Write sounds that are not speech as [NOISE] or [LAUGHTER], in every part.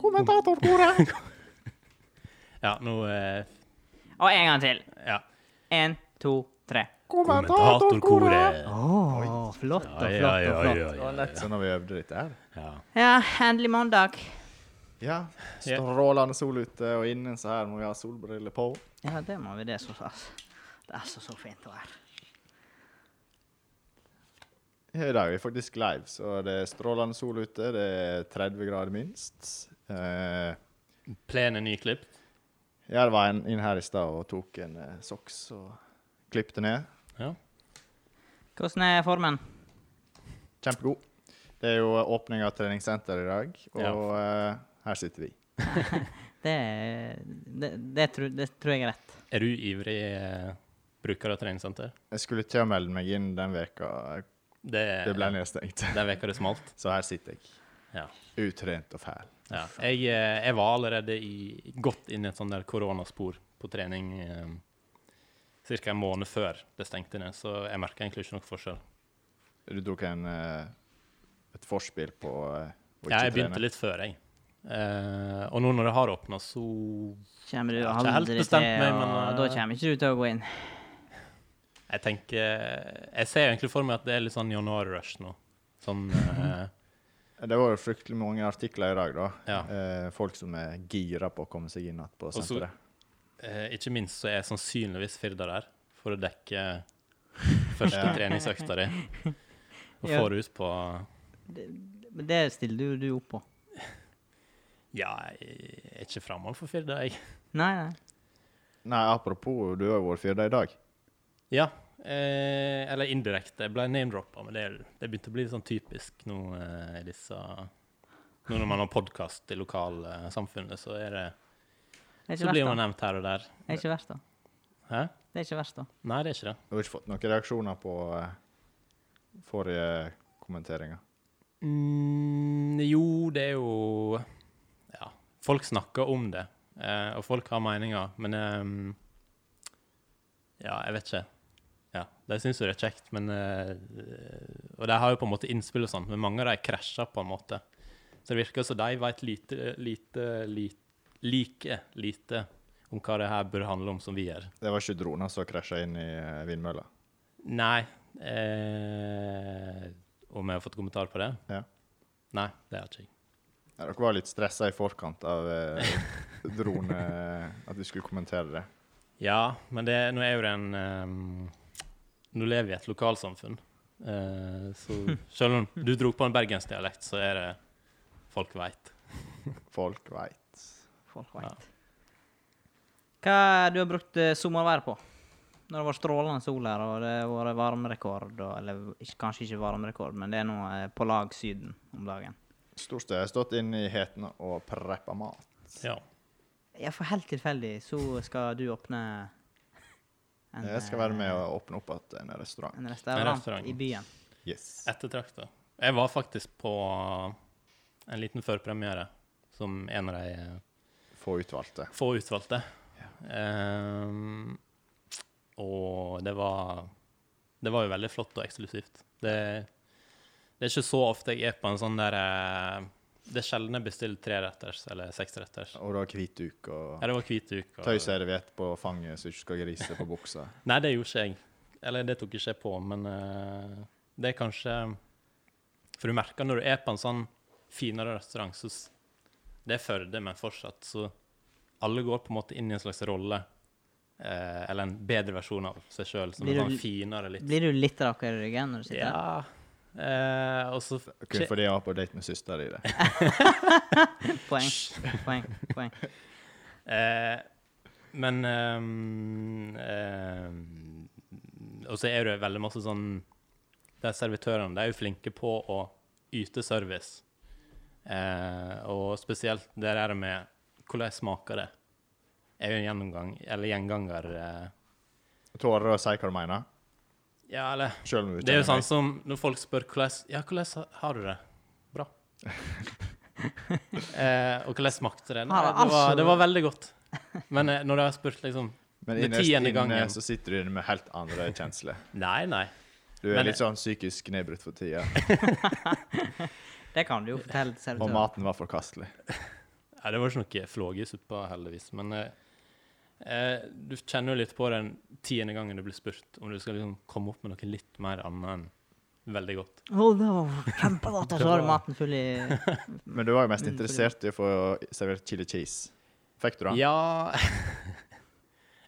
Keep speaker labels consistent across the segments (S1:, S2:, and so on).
S1: kommentatorkoret. ja, nå eh,
S2: Og en gang til.
S1: Ja.
S2: En, to, tre.
S1: Kommentatorkoret.
S3: Å, flott og flott
S1: Oi, oi,
S3: og flott.
S1: oi, oi,
S4: Det var
S1: oi.
S4: nett sånn når vi øvde litt der.
S1: Ja.
S2: Ja, endelig mandag.
S4: Ja. Strålende sol ute, og inne så her må vi ha solbriller på.
S2: Ja, det må vi det som sagt. Det er så, så fint å være.
S4: I dag er vi faktisk live, så det er strålende sol ute. Det er 30 grader minst. Eh,
S1: Plenen nyklipt.
S4: ja, det var en inn her i stad og tok en eh, soks og klippte ned.
S1: Ja.
S2: Hvordan er formen?
S4: Kjempegod. Det er jo eh, åpning av treningssenter i dag, og eh, her sitter vi.
S2: Det, er- det, det, tror, det tror jeg er rett.
S1: Er du ivrig eh, bruker av treningssenter?
S4: Jeg skulle ikke ha meldt meg inn den veka
S1: Det,
S4: det ble nedstengt,
S1: Den veka det smalt.
S4: [LAUGHS] så her sitter jeg.
S1: Ja.
S4: Utrent og fæl.
S1: Ja. Jeg, eh, jeg var allerede i, godt inn i et sånn der koronaspor på trening eh, ca. en måned før det stengte ned, så jeg merka egentlig ikke noe forskjell.
S4: Du tok en, eh, et forspill på eh,
S1: Ja,
S4: å ikke
S1: jeg
S4: trene.
S1: begynte litt før, jeg. Eh, og nå når det har åpna, så
S2: Kommer du
S1: Jeg har ikke helt
S2: aldri til,
S1: bestemt meg,
S2: og
S1: men, eh,
S2: da kommer ikke du til å gå inn.
S1: Jeg tenker Jeg ser egentlig for meg at det er litt sånn januar-rush nå. Sånn eh,
S4: Det var jo fryktelig mange artikler i dag, da.
S1: Ja.
S4: Eh, folk som er gira på å komme seg inn igjen på
S1: så-
S4: senteret.
S1: eh, Ikke minst så er jeg sannsynligvis Firda der for å dekke første
S4: Ja.
S1: treningsøkta di. Og
S2: Ja.
S1: får ut på
S2: Men det stiller du, du opp på.
S1: Ja, jeg er ikke framover for Firda, jeg.
S2: Nei, nei.
S4: Nei, apropos, du har jo vært fyrda i dag.
S1: Ja. Eh, eller indirekte. Jeg ble name-droppa, men det, er- det begynte å bli litt sånn typisk nå eh, i disse Nå når man har podkast i lokalsamfunnet, så er det
S2: Det er
S1: Så blir
S2: ikke
S1: man
S2: verst, da.
S1: nevnt her og der.
S2: Det er ikke verst, da.
S1: Hæ?
S2: Det er ikke verst, da.
S1: Nei, det er ikke det.
S4: Du har ikke fått noen reaksjoner på eh, forrige kommenteringer.
S1: Mm, jo, det er jo Ja, folk snakker om det, eh, og folk har meninger, men ehm, Ja, jeg vet ikke. Ja, De syns jo det er kjekt, men eh, Og de har jo på en måte innspill og sånt, men mange av de krasjer på en måte. Så det virker som de veit lite, lite, lite Like lite om hva det her bør handle om, som vi gjør.
S4: Det var ikke droner som krasja inn i eh, vindmølla.
S1: Nei eh, Om jeg har fått kommentar på det?
S4: Ja.
S1: Nei, det har jeg ikke.
S4: Ja, Dere var litt stressa i forkant av
S1: [LAUGHS]
S4: eh, drone... At vi skulle kommentere det.
S1: Ja, men det, nå er jo det en ehm, Nå lever vi i et lokalsamfunn. Eh, så selv om du dro på en bergensdialekt, så er det folk veit.
S4: Folk veit.
S2: Folk
S1: Ja.
S2: vet. Hva er det du har brukt eh, sommervær på? Når det var strålende sol her, og det har vært varmerekord, og, eller ikke, kanskje ikke varmerekord, men det er nå eh, på lag Syden om dagen.
S4: Stort sett har jeg stått inne i heten og preppa mat.
S1: Ja.
S2: Ja, for helt tilfeldig så skal du åpne [LAUGHS] en,
S4: Jeg skal være med og åpne opp igjen en
S2: eh,
S4: restaurant.
S2: en restaurant,
S1: En restaurant.
S2: i byen.
S4: Yes.
S1: Ettertrakta. Jeg var faktisk på en liten førpremiere som en av de eh,
S4: Få utvalgte.
S1: få utvalgte. Ehm, og det var Det var jo veldig flott og eksklusivt. Det, det er ikke så ofte jeg er på en sånn der eh, Det er sjelden jeg bestiller treretters eller seksretters.
S4: Og da hvit duk og
S1: Ja, det var hvit uke.
S4: tøy serviett på fanget så du ikke skal grise på
S1: [LAUGHS]
S4: buksa.
S1: Nei, det gjorde ikke jeg. Eller det tok ikke jeg på, men eh, det er kanskje For du merker når du er på en sånn finere restaurant, så s- det er Førde, men fortsatt så Alle går på en måte inn i en slags rolle, eh, eller en bedre versjon av seg sjøl, som er
S2: Blir du
S1: sånn
S2: l-
S1: finere litt
S2: Blir du litt rakere i ryggen når du sitter der?
S1: Ja. Eh, og så
S4: Kun fordi jeg var på date med søster i det.
S2: Poeng, [LAUGHS] poeng, poeng.
S1: Eh, men ehm, ehm, Og så er det jo veldig masse sånn De servitørene de er jo flinke på å yte service. Eh, og spesielt det der med hvordan smaker det, er jo en gjennomgang, eller gjenganger. Eh,
S4: Tårer å si hva du mener,
S1: ja, eller
S4: sjøl om du
S1: Det er jo sånn
S4: kjenner meg.
S1: som når folk spør hvordan Ja, hvordan ha- har du det? Bra. eh, og hvordan smakte det? Nei,
S2: Har
S1: det, var,
S2: altså-
S1: det var veldig godt. Men eh, når de har spurt liksom
S4: Men
S1: det
S4: innerst
S1: tiende
S4: inne
S1: gangen.
S4: så sitter du inne med helt andre kjensler.
S1: Nei, nei.
S4: Du er
S1: Men-
S4: litt sånn psykisk nedbrutt for tida,
S2: Det kan du jo fortelle
S4: og
S2: servitøren.
S4: maten var forkastelig.
S1: Ja, det var ikke noe flågesuppa, heldigvis. Men eh, eh, du kjenner jo litt på den tiende gangen du blir spurt om du skal liksom komme opp med noe litt mer annet enn veldig godt.
S2: Oh, det var kjempegodt! Og så har du maten full i
S4: Men du var jo mest
S2: Mm,
S4: interessert i å få servert chili cheese. Fikk du det?
S1: Ja [LAUGHS]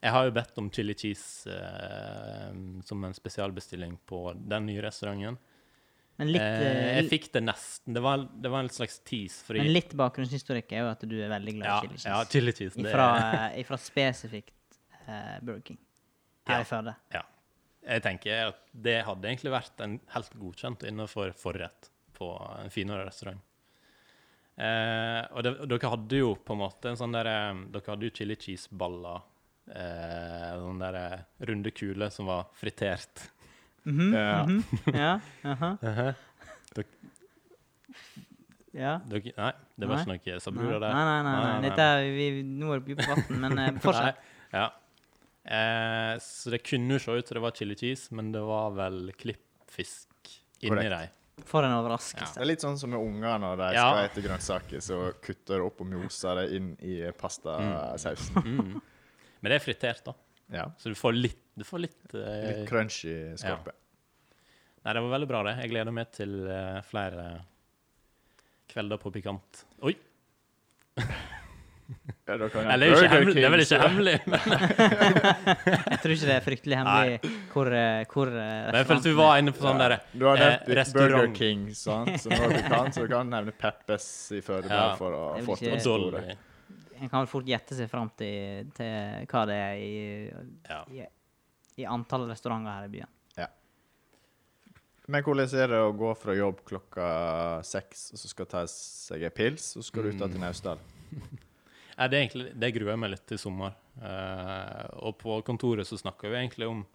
S1: Jeg har jo bedt om chili cheese eh, som en spesialbestilling på den nye restauranten.
S2: Men litt,
S1: eh,
S2: eh,
S1: jeg fikk det nesten. Det var, det var en slags tease. Fordi,
S2: men litt bakgrunnshistorikk er jo at du er veldig glad i
S1: ja,
S2: chili cheese.
S1: Ja, chili cheese. Det,
S2: ifra, eh, ifra spesifikt eh, Burger King.
S1: Ja.
S2: Her i Førde.
S1: Jeg tenker at det hadde egentlig vært en helt godkjent innenfor forrett på en finere restaurant. Eh, og, det, og dere hadde jo på en måte en sånn der eh, Dere hadde jo chili cheese-baller. Eh, sånne der eh, runde kuler som var fritert.
S2: Mhm,
S4: Ja.
S2: mhm, ja, aha, ja.
S1: Dere, nei, det var ikke noe
S2: Nei,
S1: sabura der.
S2: nei, nei. nei,
S1: Nei, nei,
S2: Dette er, vi, nå er vi på vann, men
S1: [LAUGHS]
S2: eh, fortsett.
S1: Nei, Ja. Eh, så det kunne jo se ut som det var chili cheese, men det var vel klippfisk inni
S4: Korrekt.
S1: dem.
S2: For en
S4: Det
S2: overraskelse.
S4: er litt sånn som med unger når de
S1: Ja.
S4: skal ete grønnsaker, så kutter de opp og moser det inn i pastasausen.
S1: Mm. Men det er fritert, da,
S4: Ja.
S1: så du får litt, du får litt, eh,
S4: Litt crunchy skorpe.
S1: Nei, det var veldig bra, det. Jeg gleder meg til eh, flere kvelder på Pikant. Oi!
S4: Ja, da kan jeg-
S1: Eller det er jo ikke
S4: Burger
S1: hemmelig, det er vel
S4: King,
S1: ikke hemmelig, men,
S2: [LAUGHS] Jeg tror ikke det er fryktelig hemmelig hvor, eh, hvor eh,
S1: men jeg følte vi
S2: restauranten
S1: var inne på sånn
S4: Ja.
S1: derre
S4: Du har
S1: eh,
S4: nevnt litt Burger
S1: restaurant.
S4: King, sant? som var pikant, så du kan nevne Peppes i Førde
S1: Ja.
S4: der for å
S2: Det er vel
S4: få til
S2: ikke-
S1: Og
S4: det store.
S1: Dolly.
S2: er. En kan vel fort gjette seg fram til, til hva det er i,
S1: Ja.
S2: i, i antall restauranter her i byen.
S4: Men hvordan er det å gå fra jobb klokka seks, og så skal ta seg en pils, og så skal du ut
S1: Mm.
S4: til Naustdal?
S1: Nei, det, er egentlig, det gruer jeg meg litt til i sommer. Eh, og på kontoret så snakka vi egentlig om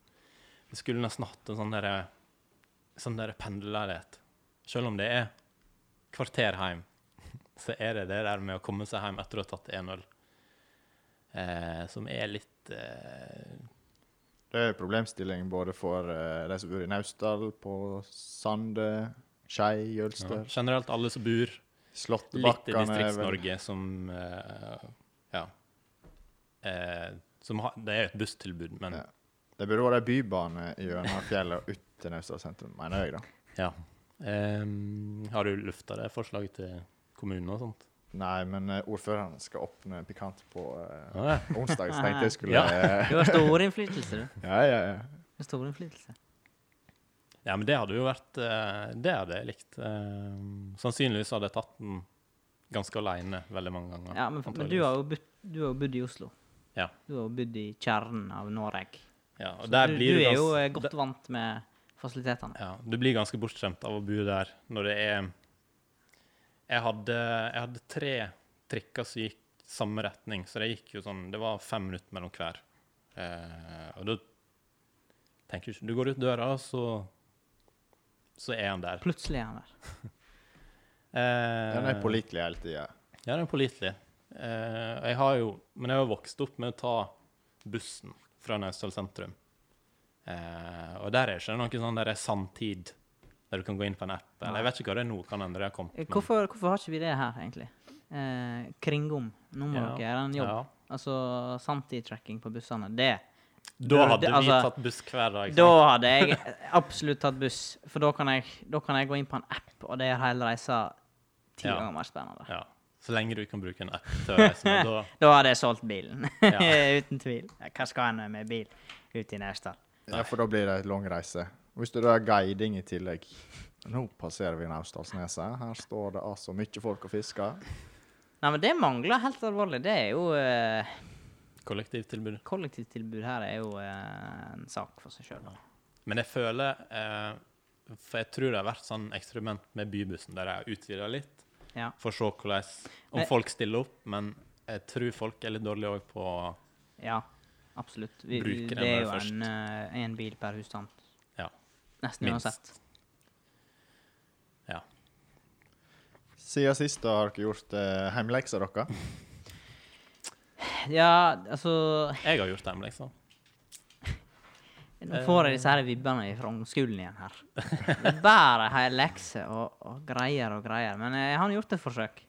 S1: Vi skulle nesten hatt en sånn derre sånn der pendlerleilighet. Selv om det er kvarter hjem, [LAUGHS] så er det det der med å komme seg hjem etter å ha tatt en øl, eh, som er litt eh,
S4: Det er en problemstilling både for eh, de som bor i Naustdal, på Sande, Skei,
S1: ja,
S4: Jølster,
S1: Generelt alle som bor litt i
S4: Slåttebakkene er vel-
S1: Distrikts-Norge, som eh, Ja. Eh, som har, det er jo et busstilbud, men
S4: Ja. Det burde vært en bybane gjennom fjellet og ut til Naustdal sentrum, mener jeg, da.
S1: Ja. Ehm, har du lufta det forslaget til kommunen og sånt?
S4: Nei, men eh, ordføreren skal åpne pikant på eh,
S1: Ja,
S4: onsdag, så tenkte jeg skulle eh,
S1: Ja.
S2: Du har stor innflytelse, du.
S4: ja, ja, ja.
S2: Du har Stor innflytelse.
S1: ja men det hadde jo vært eh, Det hadde jeg likt. Ehm, sannsynligvis hadde jeg tatt den ganske aleine veldig mange ganger.
S2: Ja, men, men du
S1: antageligvis.
S2: har jo bodd, du har jo bodd i Oslo.
S1: Ja.
S2: Du har jo bodd i kjernen av Norge.
S1: ja,
S2: Så
S1: og der
S2: du,
S1: blir
S2: du
S1: du,
S2: er jo
S1: gans-
S2: eh, godt vant med fasilitetene.
S1: ja, Du blir ganske bortskjemt av å bo der når det er Jeg hadde, jeg hadde tre trikker som gikk samme retning, så det gikk jo sånn Det var fem minutter mellom hver. Eh, og da tenker du ikke Du går ut døra, og så så er han der.
S2: Plutselig er han der.
S1: Eh,
S4: Den er pålitelig hele tida.
S1: Ja, den er pålitelig. Eh, og jeg har jo, men jeg har jo vokst opp med å ta bussen fra Naustdal sentrum. Eh, og der er det ikke noe sånn der er sanntid, der du kan gå inn på en app. Eller jeg vet ikke hva det er nå, kan hende det har kommet.
S2: Eh,
S1: men-
S2: Hvorfor, hvorfor har ikke vi det her, egentlig? Eh, kringom. Nå må
S1: Ja.
S2: dere gjøre en jobb.
S1: Ja.
S2: Altså sanntid-tracking på bussene. Det.
S1: Da hadde
S2: Det-
S1: vi
S2: altså,
S1: tatt buss hver dag.
S2: Da
S1: sant?
S2: hadde jeg absolutt tatt buss, for da kan jeg, da kan jeg gå inn på en app, og det er hele reisa ti
S1: Ja.
S2: ganger mer spennende.
S1: Ja. Så lenge du kan bruke en app til å reise
S2: [LAUGHS]
S1: med, da
S2: Da hadde jeg solgt bilen.
S1: Ja.
S2: [LAUGHS] Uten tvil. Ja, Hva skal en med bil ute i Naustdal?
S4: Ja, for da blir det en lang reise. Og Hvis du da har guiding i tillegg Nå passerer vi Naustdalsneset. Her står det altså mye folk og fisker.
S2: Nei, men det mangler helt alvorlig. Det er jo eh,
S1: kollektivtilbudet.
S2: Kollektivtilbud her er jo eh, en sak for seg sjøl.
S1: Men jeg føler eh, For jeg tror det har vært sånn eksperiment med bybussen, der jeg har utvida litt.
S2: Ja.
S1: For å se hvordan Om
S2: Men-
S1: folk stiller opp, men jeg tror folk er litt dårlige òg på
S2: ja. Absolutt. Vi,
S1: Bruker den
S2: det er
S1: der
S2: jo
S1: først.
S2: en, eh, en bil per husstand.
S1: Ja.
S2: Nesten
S1: Minst.
S2: uansett.
S1: Ja.
S4: Siden sist da har dere gjort uh, hjemmeleksa deres.
S2: Ja, altså
S1: Jeg har gjort dem, liksom.
S2: Nå får jeg disse her vibbene fra ungskolen igjen her.
S1: [LAUGHS]
S2: Det eh, bærer ei lekse og, og greier og greier. Men jeg har gjort et forsøk.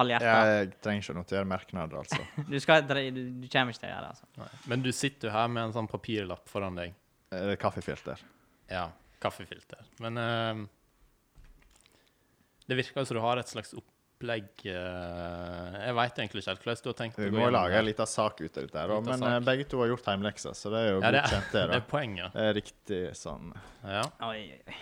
S2: halvhjerta.
S4: Jeg trenger ikke å notere merknader, altså.
S2: Du, skal, dre- du, du kommer ikke til å gjøre det. altså.
S1: Nei. Men du sitter jo her med en sånn papirlapp foran deg.
S4: Eh, Kaffefilter.
S1: Ja, kaffefilter. Men eh, det virker jo som du har et slags opplegg eh, Jeg veit egentlig ikke helt hvordan du har tenkt å
S4: Vi
S1: gå
S4: må
S1: gjennom
S4: lage
S1: det.
S4: en liten sak ut av dette, her, da,
S1: Liten
S4: men
S1: sak.
S4: eh, begge to har gjort heimlekser, så det er jo
S1: Ja, det er,
S4: godkjent,
S1: [LAUGHS]
S4: det.
S1: det
S4: da.
S1: er poenget.
S4: Det er riktig sånn
S1: Ja,
S2: Oi, oi, oi.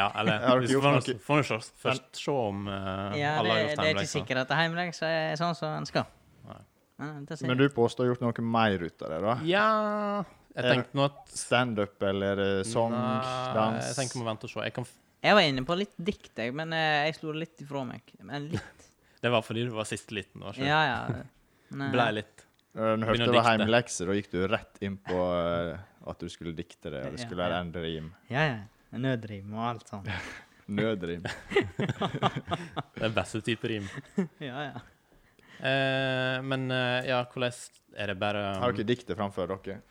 S1: ja eller
S4: [LAUGHS] Har dere
S1: vi
S4: gjort
S1: får nå-
S4: noe-
S1: får nå se- først se om eh,
S2: Ja, det,
S1: alle har gjort liksom.
S2: det er ikke
S1: heimleksa.
S2: sikkert at heimleksa er sånn som en skal.
S1: Nei.
S2: Men det sier-
S4: Men du påstår gjort noe mer ut av det, da?
S1: Ja Jeg
S4: Er-
S1: tenkte nå at
S4: Standup eller eh, sang,
S1: Nei,
S4: dans?
S1: Jeg tenker vi må vente og se. Jeg kan, f-
S2: Jeg var inne på litt dikt, jeg, men eh, jeg slo det litt ifra meg. Men litt.
S1: det var fordi du var sist liten. Var ikke?
S2: Ja, ja. Nei.
S1: Blei litt.
S4: Når du
S1: Begynne
S4: Eh, hørte
S1: å
S4: det var
S1: dikte.
S4: heimlekser, da gikk du rett inn på eh, at du skulle dikte det, og det
S2: Ja,
S4: skulle være
S2: ja.
S4: en rim.
S2: Ja, ja. Nødrim og alt
S4: [LAUGHS]
S2: sånt. [LAUGHS]
S4: Nødrim.
S1: Den beste type rim.
S2: Ja, ja.
S1: Eh, men eh, ja, hvordan er det bare um,
S4: Har dere diktet framfor dere?
S2: Eh,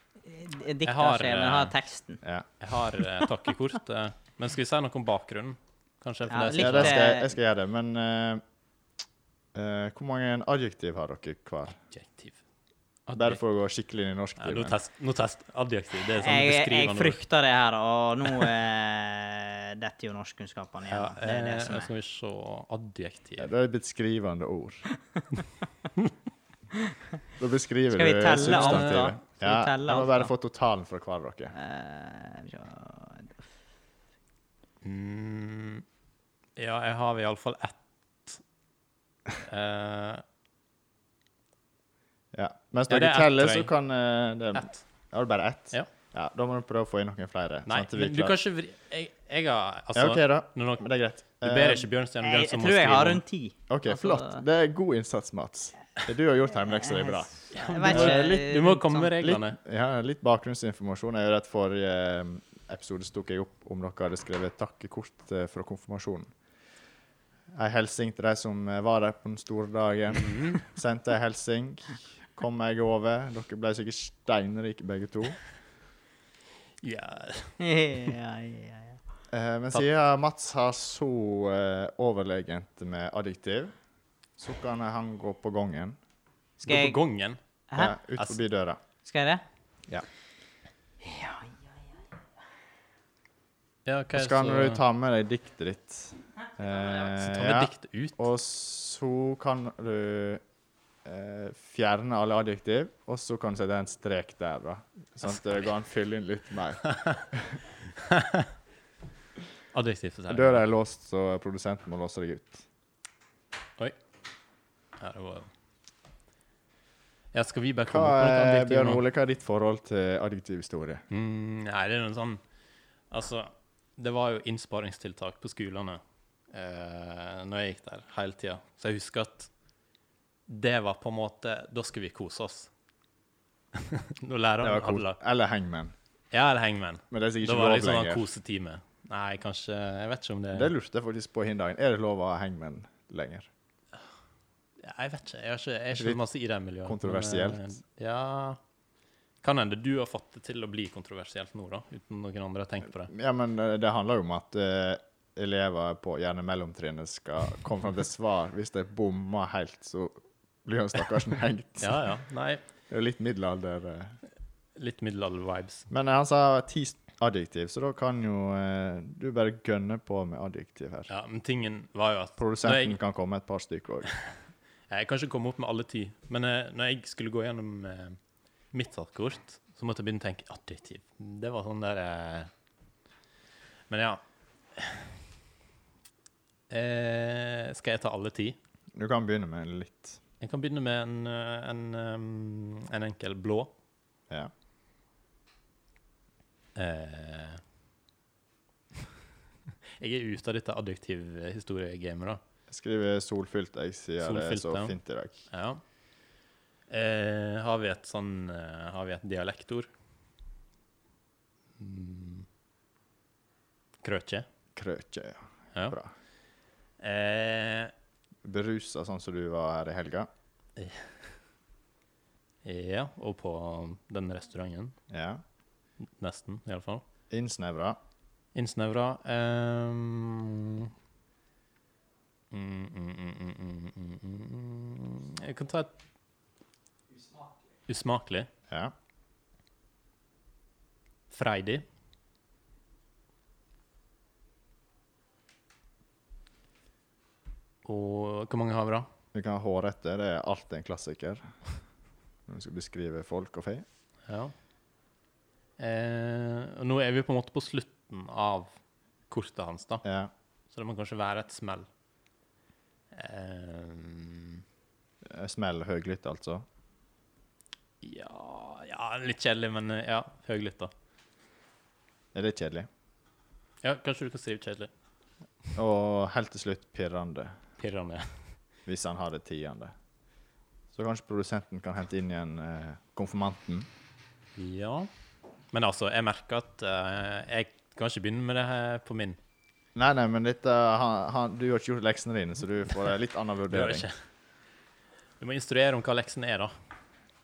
S2: Dikt
S1: Jeg
S2: har
S1: har,
S2: ikke jeg, men jeg har teksten.
S4: Ja.
S1: Jeg har eh, takkekort. eh, Men skal vi si noe om bakgrunnen? Kanskje? For
S2: Ja,
S1: det
S2: litt,
S4: ja
S1: er
S4: det
S1: sikkert-
S4: skal jeg, jeg skal gjøre det, men eh, eh, hvor mange adjektiv har dere hver?
S1: Adjektiv.
S4: Bare
S1: Adjektiv.
S4: for å gå skikkelig inn i norsk.
S1: Ja, nå test, nå test adjektiv. Det er sånn
S2: Jeg, jeg
S1: beskrivende ord.
S2: frykter det her, og nå eh, detter jo norskkunnskapene
S1: Ja,
S2: igjen. Det er det
S1: eh,
S2: som
S1: nå
S2: er.
S1: skal vi se
S4: Ja,
S1: adjektiv.
S4: det er beskrivende
S2: [LAUGHS]
S4: ord. da beskriver
S2: Skal vi
S4: du
S2: telle
S4: substantivet.
S2: alt, da? Skal vi
S4: Ja,
S2: telle
S4: jeg
S2: alt,
S4: må bare
S2: da?
S4: få totalen fra hver av dere.
S2: Eh, ja.
S1: Mm, ja, jeg har iallfall ett. Eh,
S4: Ja. Mens
S1: Ja,
S4: dere
S1: det er ett,
S4: teller,
S1: tror
S4: så
S1: jeg.
S4: kan eh, det,
S1: ett.
S4: Har du bare ett?
S1: Ja.
S4: Da må du prøve å få inn noen flere.
S1: Nei,
S4: sånn at vi
S1: men du
S4: klarer-
S1: kan ikke vri Jeg, jeg har altså
S4: Ja, OK, da.
S1: når noen-
S4: Men det er greit.
S1: Du ber
S4: Eh,
S1: ikke Bjørnstjerne
S2: Jeg,
S1: Bjørnson
S2: jeg
S1: om å
S2: tror jeg
S1: skrive
S2: har
S1: om-
S2: rundt ti.
S4: OK,
S2: Altså-
S4: flott. Det er god innsats, Mats. Det Du har gjort hjemmeleksa di bra.
S2: Jeg vet
S1: du må-
S2: ikke,
S4: litt-
S1: Du må komme med
S2: sånn-
S1: reglene.
S4: Ja, litt bakgrunnsinformasjon. Jeg er jo rett Forrige eh, episode så tok jeg opp om dere hadde skrevet takkekort eh, fra konfirmasjonen. Ei hilsen til de som eh, var der på den store dagen.
S1: Mhm.
S4: Sendte ei hilsen. Kom meg over. Dere ble sikkert steinrike begge to.
S1: Ja.
S2: [LAUGHS] ja, ja, ja.
S4: Eh, men
S1: Takk.
S4: siden Mats har så eh, overlegent med adjektiv, så kan han gå på gangen.
S2: Skal
S1: Gå
S2: jeg
S1: på gongen.
S2: Hæ?
S4: Ja, ut
S1: Altså-
S4: forbi døra.
S2: Skal jeg det?
S1: Ja, hva er
S4: Så kan
S1: så-
S4: du ta med deg diktet ditt.
S1: Så
S4: Eh,
S1: tar vi
S4: ja.
S1: dikt ut.
S4: Og så kan du eh, fjerne alle adjektiv, og så kan du sette en strek der, da. Sånn at det går an å fylle inn
S1: [LAUGHS]
S4: litt mer.
S1: Adjektiv. så sier jeg.
S4: Døra er låst, så produsenten må låse deg ut.
S1: Ja, det var... ja, skal vi bare
S4: Hva
S1: komme på noe
S4: er,
S1: adjektiv
S4: Bjørn
S1: nå?
S4: Ole, hva er ditt forhold til adjektivhistorie?
S1: Mm, nei, det er noe sånn Altså, det var jo innsparingstiltak på skolene eh, når jeg gikk der, hele tida. Så jeg husker at det var på en måte Da skulle vi kose oss. [LAUGHS] Når
S4: Det
S1: læreren
S4: var
S1: hadde
S4: cool.
S1: lagt
S4: Eller hangman.
S1: Ja, eller hangman.
S4: Men det er sikkert
S1: Da
S4: ikke
S1: var
S4: lov
S1: det liksom en
S4: lenger.
S1: kosetime. Nei, kanskje Jeg vet ikke om det,
S4: Det lurte jeg faktisk på hin dagen. Er det lov å ha hangman lenger?
S1: Ja, Jeg vet ikke. Jeg er ikke, jeg er
S4: Litt
S1: ikke masse i det miljøet.
S4: kontroversielt.
S1: men, eh, ja Kan hende du har fått det til å bli kontroversielt nå, da, uten noen andre har tenkt på det.
S4: Ja, men eh, det handler jo om at eh, elever på gjerne mellomtrinnet skal komme fram til svar. Hvis de bommer helt, så blir han stakkarsen hengt.
S1: Ja, ja. Nei,
S4: Det er jo litt middelalder. eh.
S1: litt middelalder-vibes.
S4: Men eh, han sa ti s- adjektiv, så da kan jo eh, du bare gønne på med adjektiv her.
S1: Ja, men tingen var jo at når
S4: Produsenten
S1: jeg,
S4: kan komme et par stykker òg.
S1: jeg kan ikke komme opp med alle ti, men eh, når jeg skulle gå gjennom eh, mitt takkekort, så måtte jeg begynne å tenke adjektiv. Det var sånn der eh, Men ja. Eh, skal jeg ta alle ti?
S4: Du kan begynne med litt.
S1: Jeg kan begynne med en, eh, en, um, en enkel blå.
S4: Ja.
S1: Eh, [LAUGHS] jeg er ute av dette adjektivhistoriegamet, da.
S4: Jeg skriver solfylt, jeg sier det er
S1: Solfylt,
S4: så
S1: ja.
S4: fint i dag.
S1: Ja. Eh, har vi et sånn eh, Har vi et dialektord? Mm. Krøkje.
S4: Krøkje, ja.
S1: Ja.
S4: Bra.
S1: Eh,
S4: Berusa sånn som du var her i helga.
S1: ja, og på den restauranten.
S4: Ja.
S1: Nesten, iallfall.
S4: Innsnevra.
S1: Innsnevra. ehm, Mm, mm, mm, mm, mm, mm, mm, mm. Jeg kan ta et Usmakelig.
S4: Ja.
S1: Freidig. Og hvor mange har vi, da?
S4: Vi kan ha hårrette. Det er alltid en klassiker når vi skal beskrive folk og fe.
S1: Ja. Eh, og nå er vi på en måte på slutten av kortet hans, da.
S4: Ja.
S1: Så det må kanskje være et smell. Eh,
S4: Smell høylytt, altså.
S1: ja, ja Litt kjedelig, men eh, ja. Høylytt, da.
S4: Er det kjedelig?
S1: Ja, kanskje du kan skrive kjedelig.
S4: Og helt til slutt pirrende,
S1: Pirrende.
S4: hvis han har det tiende. Så kanskje produsenten kan hente inn igjen eh, konfirmanten.
S1: Ja. Men altså, jeg merker at eh, jeg kan ikke begynne med det her på min.
S4: Nei, nei, men dette, han, han, du har ikke gjort leksene dine, så du får en litt annen
S1: Du, har
S4: vurdering.
S1: ikke. du må instruere om hva leksen er, da.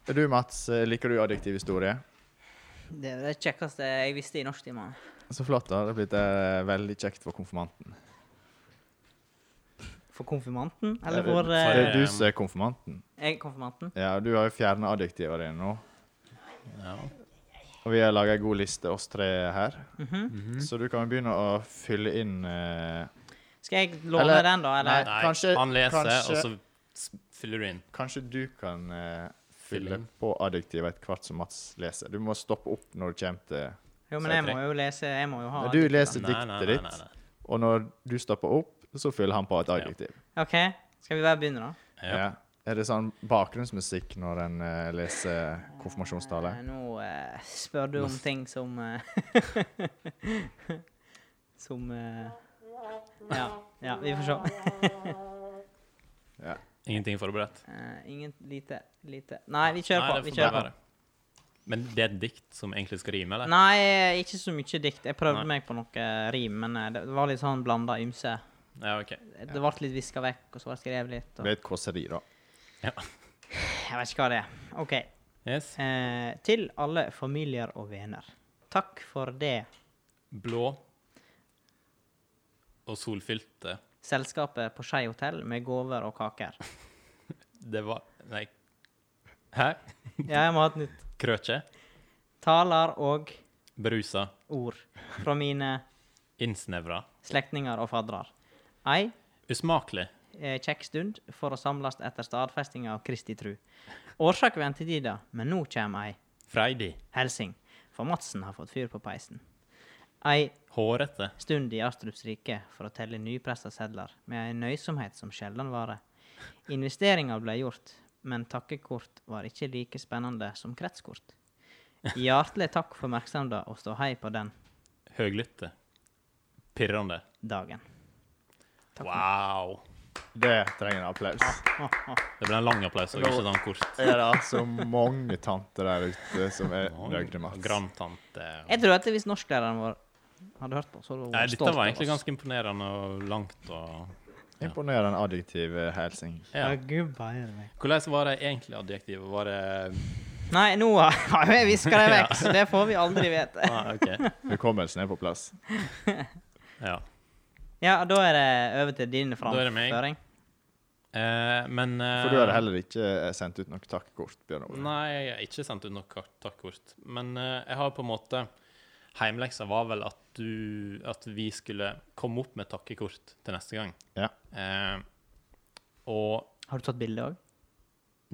S4: Du, Mats, eh, liker du adjektiv historie?
S2: Det er det kjekkeste jeg visste i norsktimene.
S4: Så flott, da. Det har blitt eh, veldig kjekt for konfirmanten.
S2: For konfirmanten? Eller
S4: Det er-
S2: for
S4: Det er
S2: eh,
S4: du som er konfirmanten.
S2: jeg, konfirmanten?
S4: Ja, du har jo fjerna adjektivene dine nå.
S1: Ja.
S4: Og vi har laga ei god liste, oss tre her.
S2: Mhm.
S4: Så du kan jo begynne å fylle inn eh,
S2: Skal jeg låne
S4: Eller-
S2: den, da? Eller?
S4: Nei,
S1: Nei,
S4: kanskje-
S1: han leser,
S4: kanskje-
S1: og så s- fyller du inn.
S4: Kanskje du kan eh,
S1: Fylle
S4: fylle
S1: inn.
S4: på adjektivet etter hvert som Mats leser. Du må stoppe opp når du kommer til
S2: Jo, men
S1: så
S2: jeg
S1: jeg
S2: må jo lese Jeg må jo ha
S4: Når du
S2: adjektiver.
S4: leser diktet ditt, og når du stopper opp, så fyller han på et adjektiv.
S2: OK, skal vi bare begynne, da?
S1: Ja.
S4: Ja. Er det sånn bakgrunnsmusikk når en eh, leser konfirmasjonstale?
S2: Eh, Nå eh, spør du om ting som eh, [LAUGHS] Som eh, ja, ja, vi får se.
S1: Ingenting forberedt.
S2: Eh, ingen lite, lite Nei, vi kjører på.
S1: Nei,
S2: Vi
S1: det får
S2: kjører
S1: bare
S2: på.
S1: være. Men det er et dikt som egentlig skal rime, eller?
S2: Nei, eh, ikke så mye dikt. Jeg prøvde
S1: Nei.
S2: meg på noe rim, men eh, det var litt sånn blanda ymse.
S1: Ja, ok.
S2: Det ble litt viska vekk, og så ble det skrevet litt.
S4: Det
S2: Og
S4: blir et kåseri, da.
S2: jeg vet ikke hva det er. OK.
S1: Yes.
S2: Eh, til alle familier og venner. Takk for det
S1: Blå og solfylte.
S2: selskapet på Skei hotell med gaver og kaker.
S1: Det var Nei. Hæ?
S2: Ja, jeg må ha et nytt.
S1: Krøkje?
S2: Taler og
S1: Berusa?
S2: ord fra mine
S1: Innsnevra?
S2: slektninger og faddrar. Ei
S1: Usmakelig?
S2: eh, kjekk stund for å samlast etter stadfestinga av Kristi tru. Årsak ventetida, men nå kjem ei
S1: Freidig?
S2: helsing, for Madsen har fått fyr på peisen. Ei
S1: Hårete?
S2: stund i Astrups rike for å telle nypressa sedler, med ei nøysomhet som sjelden varer. Investeringa ble gjort, men takkekort var ikke like spennende som kretskort. Hjertelig takk for merksemda, og stå hei på den
S1: Høglytte? Pirrende?
S2: dagen.
S1: Wow!
S4: Det trenger en applaus.
S1: Det ble en lang applaus, og ikke sånn kort.
S4: Er det altså mange tanter der ute som er nøyd med Mats?
S1: Grandtante
S2: Jeg tror at hvis norsklæreren vår hadde hørt på, så hadde hun
S1: Nei,
S2: vært
S1: dette
S2: stolt
S1: var
S2: av
S1: egentlig
S2: oss.
S1: ganske imponerende og langt og
S4: Imponerende adjektiv eh, helsing.
S1: ja.
S2: Ja, gud beire meg.
S1: Hvordan var det egentlig adjektivet? Var det
S2: Nei, nå har [LAUGHS] jeg viska det vekk, så det får vi aldri vite.
S1: ah, OK.
S4: Hukommelsen er på plass.
S1: Ja.
S2: Ja, da er det over til din
S1: Da er det meg.
S2: framføring.
S1: Eh, men eh,
S4: For du har heller ikke eh, sendt ut noe takkekort, Bjørn Ove.
S1: Nei, jeg har ikke sendt ut noe kart- takkekort. Men eh, jeg har på en måte Heimleksa var vel at, du, at vi skulle komme opp med takkekort til neste gang.
S4: Ja.
S1: Eh, og
S2: Har du tatt bilde òg?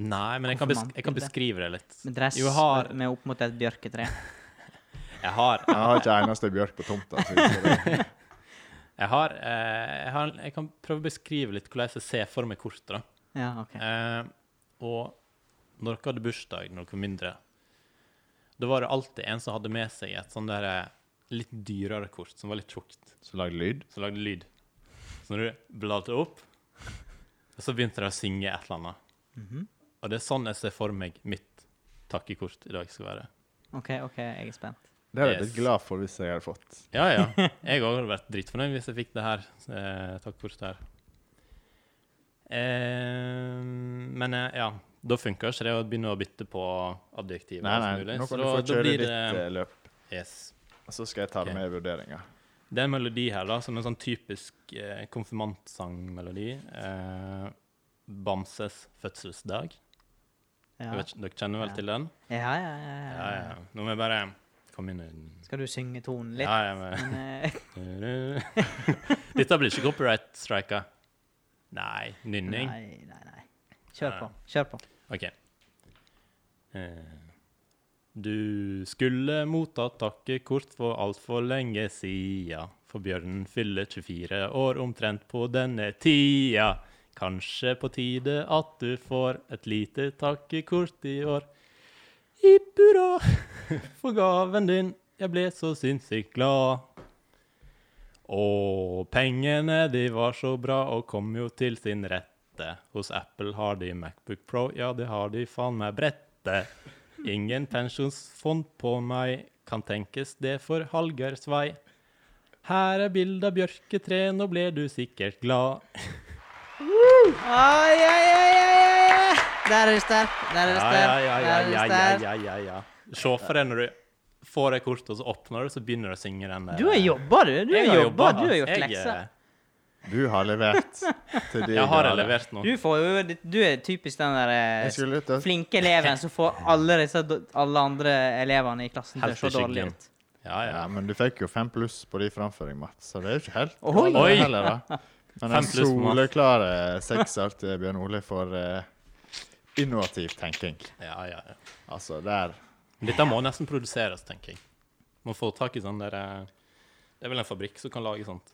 S1: Nei, men jeg kan, besk jeg kan
S2: Konfirmantbilde.
S1: beskrive det litt.
S2: Med dress
S1: Jo, jeg har,
S2: med opp mot et bjørketre.
S1: jeg har,
S4: Jeg har ikke eneste bjørk på tomta. så vi får-
S1: jeg, har, eh, jeg, har jeg kan prøve å beskrive litt hvordan jeg ser for meg kortet. da.
S2: Ja, ok.
S1: Eh, og når dere hadde bursdag, når dere var mindre, da var det alltid en som hadde med seg et sånn der eh, litt dyrere kort, som var litt tjukt,
S4: [LAUGHS] Så lag lyd.
S1: som lagde lyd. Så når du bladde opp, så begynte de å synge et eller annet.
S2: Mhm.
S1: Og det er sånn jeg ser for meg mitt takkekort i dag skal være.
S2: OK, ok, jeg er spent.
S4: Det hadde jeg blitt
S1: Yes.
S4: glad for hvis jeg hadde fått.
S1: Ja, ja. [LAUGHS] Jeg òg hadde vært dritfornøyd hvis jeg fikk det her eh, takkekortet her. Eh, men eh, ja, da funker ikke det å begynne å bytte på adjektiver.
S4: Nei,
S1: og alt
S4: nei,
S1: mulig.
S4: nå
S1: Så
S4: kan du
S1: da,
S4: få
S1: da
S4: kjøre eh,
S1: blir
S4: ditt
S1: det
S4: eh, løp,
S1: Yes.
S4: og så skal jeg ta det
S1: Ok.
S4: med i vurderinga.
S1: Det er en melodi her da, som er en sånn typisk eh, konfirmantsangmelodi. Eh, Bamses fødselsdag.
S2: Ja.
S1: Jeg vet, ikke- dere kjenner vel
S2: Ja.
S1: til den?
S2: Ja, ja,
S1: Ja,
S2: ja, ja,
S1: ja.
S2: ja.
S1: Nå må jeg bare komme inn i den.
S2: Skal du synge tonen litt?
S1: Ja, ja, men.
S2: [LAUGHS] Men,
S1: [LAUGHS]
S2: eh,
S1: Dette blir ikke copyright striker. Nei, nynning.
S2: Nei, nei, nei. Kjør
S1: Ja.
S2: på. Kjør på.
S1: Ok. Eh, Du skulle motta takkekort for altfor lenge sia, for Bjørn fyller 24 år omtrent på denne tida. Kanskje på tide at du får et lite takkekort i år. Hipp hurra [LAUGHS] for gaven din, jeg ble så sinnssykt glad. Og pengene, de var så bra og kom jo til sin rette. Hos Apple har de Macbook Pro, ja, det har de faen meg brettet. Ingen pensjonsfond på meg, kan tenkes det for Hallgeirs vei. Her er bilde av bjørketre, nå ble du sikkert glad.
S2: Ai, ai, ai, ai, ai, ai. Der er du sterk. Der er du
S1: Ja,
S2: sterk.
S1: ja, ja, ja,
S2: Der er du
S1: ja, ja,
S2: sterk.
S1: ja, ja, ja. Se for deg når du får det kortet, og så åpner du, så begynner du å synge den der.
S2: Du har jobba, du. Du
S1: Jeg
S2: har jobba.
S1: jobbet,
S2: Du har gjort
S1: jeg, eh,
S2: lekser.
S4: Du har levert. Til de
S1: [LAUGHS] Jeg har
S4: grader.
S1: levert noe.
S2: Du, får jo, du er typisk den der eh,
S4: Jeg skulle ut og-
S2: flinke eleven som får alle, disse, do- alle andre elevene i klassen til å
S1: Helt i
S2: se dårlig
S1: skyggen.
S2: ut.
S1: Ja, ja.
S4: Ja, men du fikk jo fem pluss på de framføring, Mats, så det er jo ikke helt
S2: Oi!
S4: galt
S1: Oi!
S4: heller, da. Men en
S1: Fem pluss på Mats.
S4: soleklare sekser til Bjørn Ole for eh, innovativ tenking.
S1: ja, ja, ja.
S4: Altså, der
S1: Dette må nesten produseres, tenker jeg. Må få tak i sånn der eh, Det er vel en fabrikk som kan lage sånt.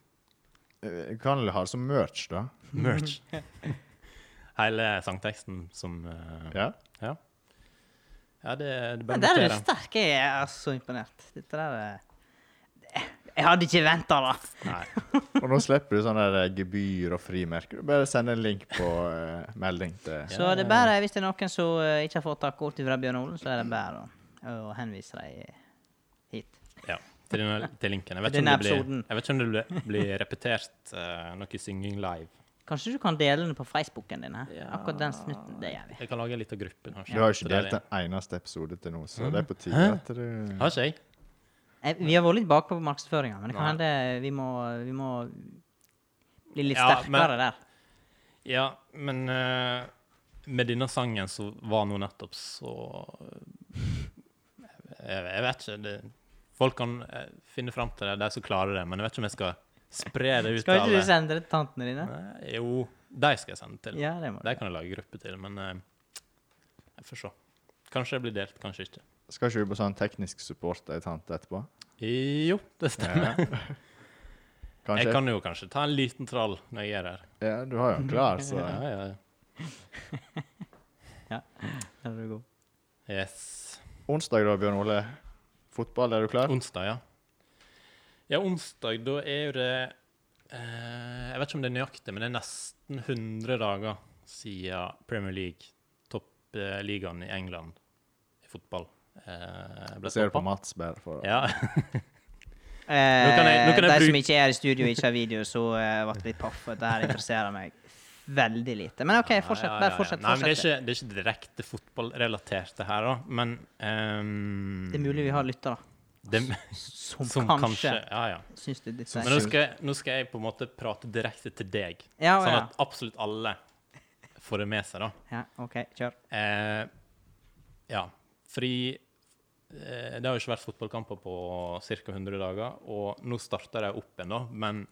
S4: eh, kan du ha det som merch, da.
S1: Merch. [LAUGHS] Hele sangteksten som eh,
S4: Ja.
S1: ja. Ja, det, det
S2: Ja,
S1: bør
S2: der er du
S1: notere.
S2: sterk. Jeg er så imponert. Dette der er Jeg hadde ikke venta det.
S1: Nei.
S4: Og nå slipper du sånn der eh, gebyr og frimerker. Du bare sender en link på eh, melding til
S2: Så det er bare, hvis det er noen som eh, ikke har fått takkekort fra Bjørn Olen, så er det bare å, å henvise dem hit.
S1: Ja. Til, denne, til linken. Jeg vet,
S2: Til
S1: ikke om det
S2: denne
S1: blir,
S2: episoden.
S1: jeg vet ikke om det blir- blir repetert eh, noe synging live.
S2: Kanskje du kan dele den på Facebooken din? Her?
S1: Ja.
S2: Akkurat den snutten. Det gjør vi.
S1: Jeg kan lage en liten gruppe. kanskje.
S4: Du har jo
S1: Så
S4: ikke
S1: det er
S4: delt
S1: det.
S4: en eneste episode til nå, så det er på tide at du
S1: Har ikke jeg?
S2: Eh, Vi har vært litt bakpå på markedsføringa, men det kan
S1: Nei.
S2: hende eh, vi må, vi må bli litt
S1: Ja, men-
S2: sterkere der.
S1: Ja, men eh, med denne sangen så var nå nettopp så eh, jeg, jeg vet ikke. Det, folk kan eh, finne fram til det, de som klarer det. Men jeg vet ikke om jeg skal spre det ut.
S2: Skal ikke
S1: alle.
S2: du sende det til tantene dine?
S1: Nei, Jo, de skal jeg sende til.
S2: Ja, det må du.
S1: De kan jeg lage gruppe til, men eh, jeg får se. Kanskje det blir delt, kanskje ikke.
S4: Skal ikke du på sånn teknisk support ei tante etterpå?
S1: Jo, det stemmer. jeg
S4: Kanskje?
S1: kan jo kanskje ta en liten trall når jeg er her.
S4: Ja, du har jo en klar, så
S1: Ja, ja, ja.
S2: Der er du god.
S1: Yes.
S4: Onsdag, da, Bjørn Ole. Fotball, er du klar?
S1: Onsdag, ja. Ja, onsdag, da er jo det eh, Jeg vet ikke om det er nøyaktig, men det er nesten 100 dager siden Premier League, toppligaen i England i fotball, eh, ble
S4: Ser du på
S1: stoppa.
S4: Mats bedre for
S1: Ja.
S2: Eh,
S1: kan jeg- nå kan jeg
S2: de
S1: bruke-
S2: som ikke er i studio og ikke har video, så eh, ble litt paff. Dette her interesserer meg veldig lite. Men [LAUGHS] OK, fortsett.
S1: Ja, ja, ja,
S2: Bare
S1: ja.
S2: fortsett.
S1: Nei, men det er,
S2: fortsett.
S1: ikke, det er ikke direkte fotballrelatert, det her, da, men ehm,
S2: Det er mulig vi har lyttere.
S1: det- [LAUGHS]
S2: Som,
S1: som
S2: kanskje,
S1: kanskje. Ja, ja.
S2: syns det er litt
S1: Men nå
S2: seigt.
S1: skal, jeg, nå skal jeg på en måte prate direkte til deg,
S2: Ja,
S1: sånn
S2: ja.
S1: at absolutt alle får det med seg, da.
S2: ja, OK, kjør.
S1: Eh, ja, fordi eh, det har jo ikke vært fotballkamper på ca. 100 dager, og nå starter de opp igjen, da, men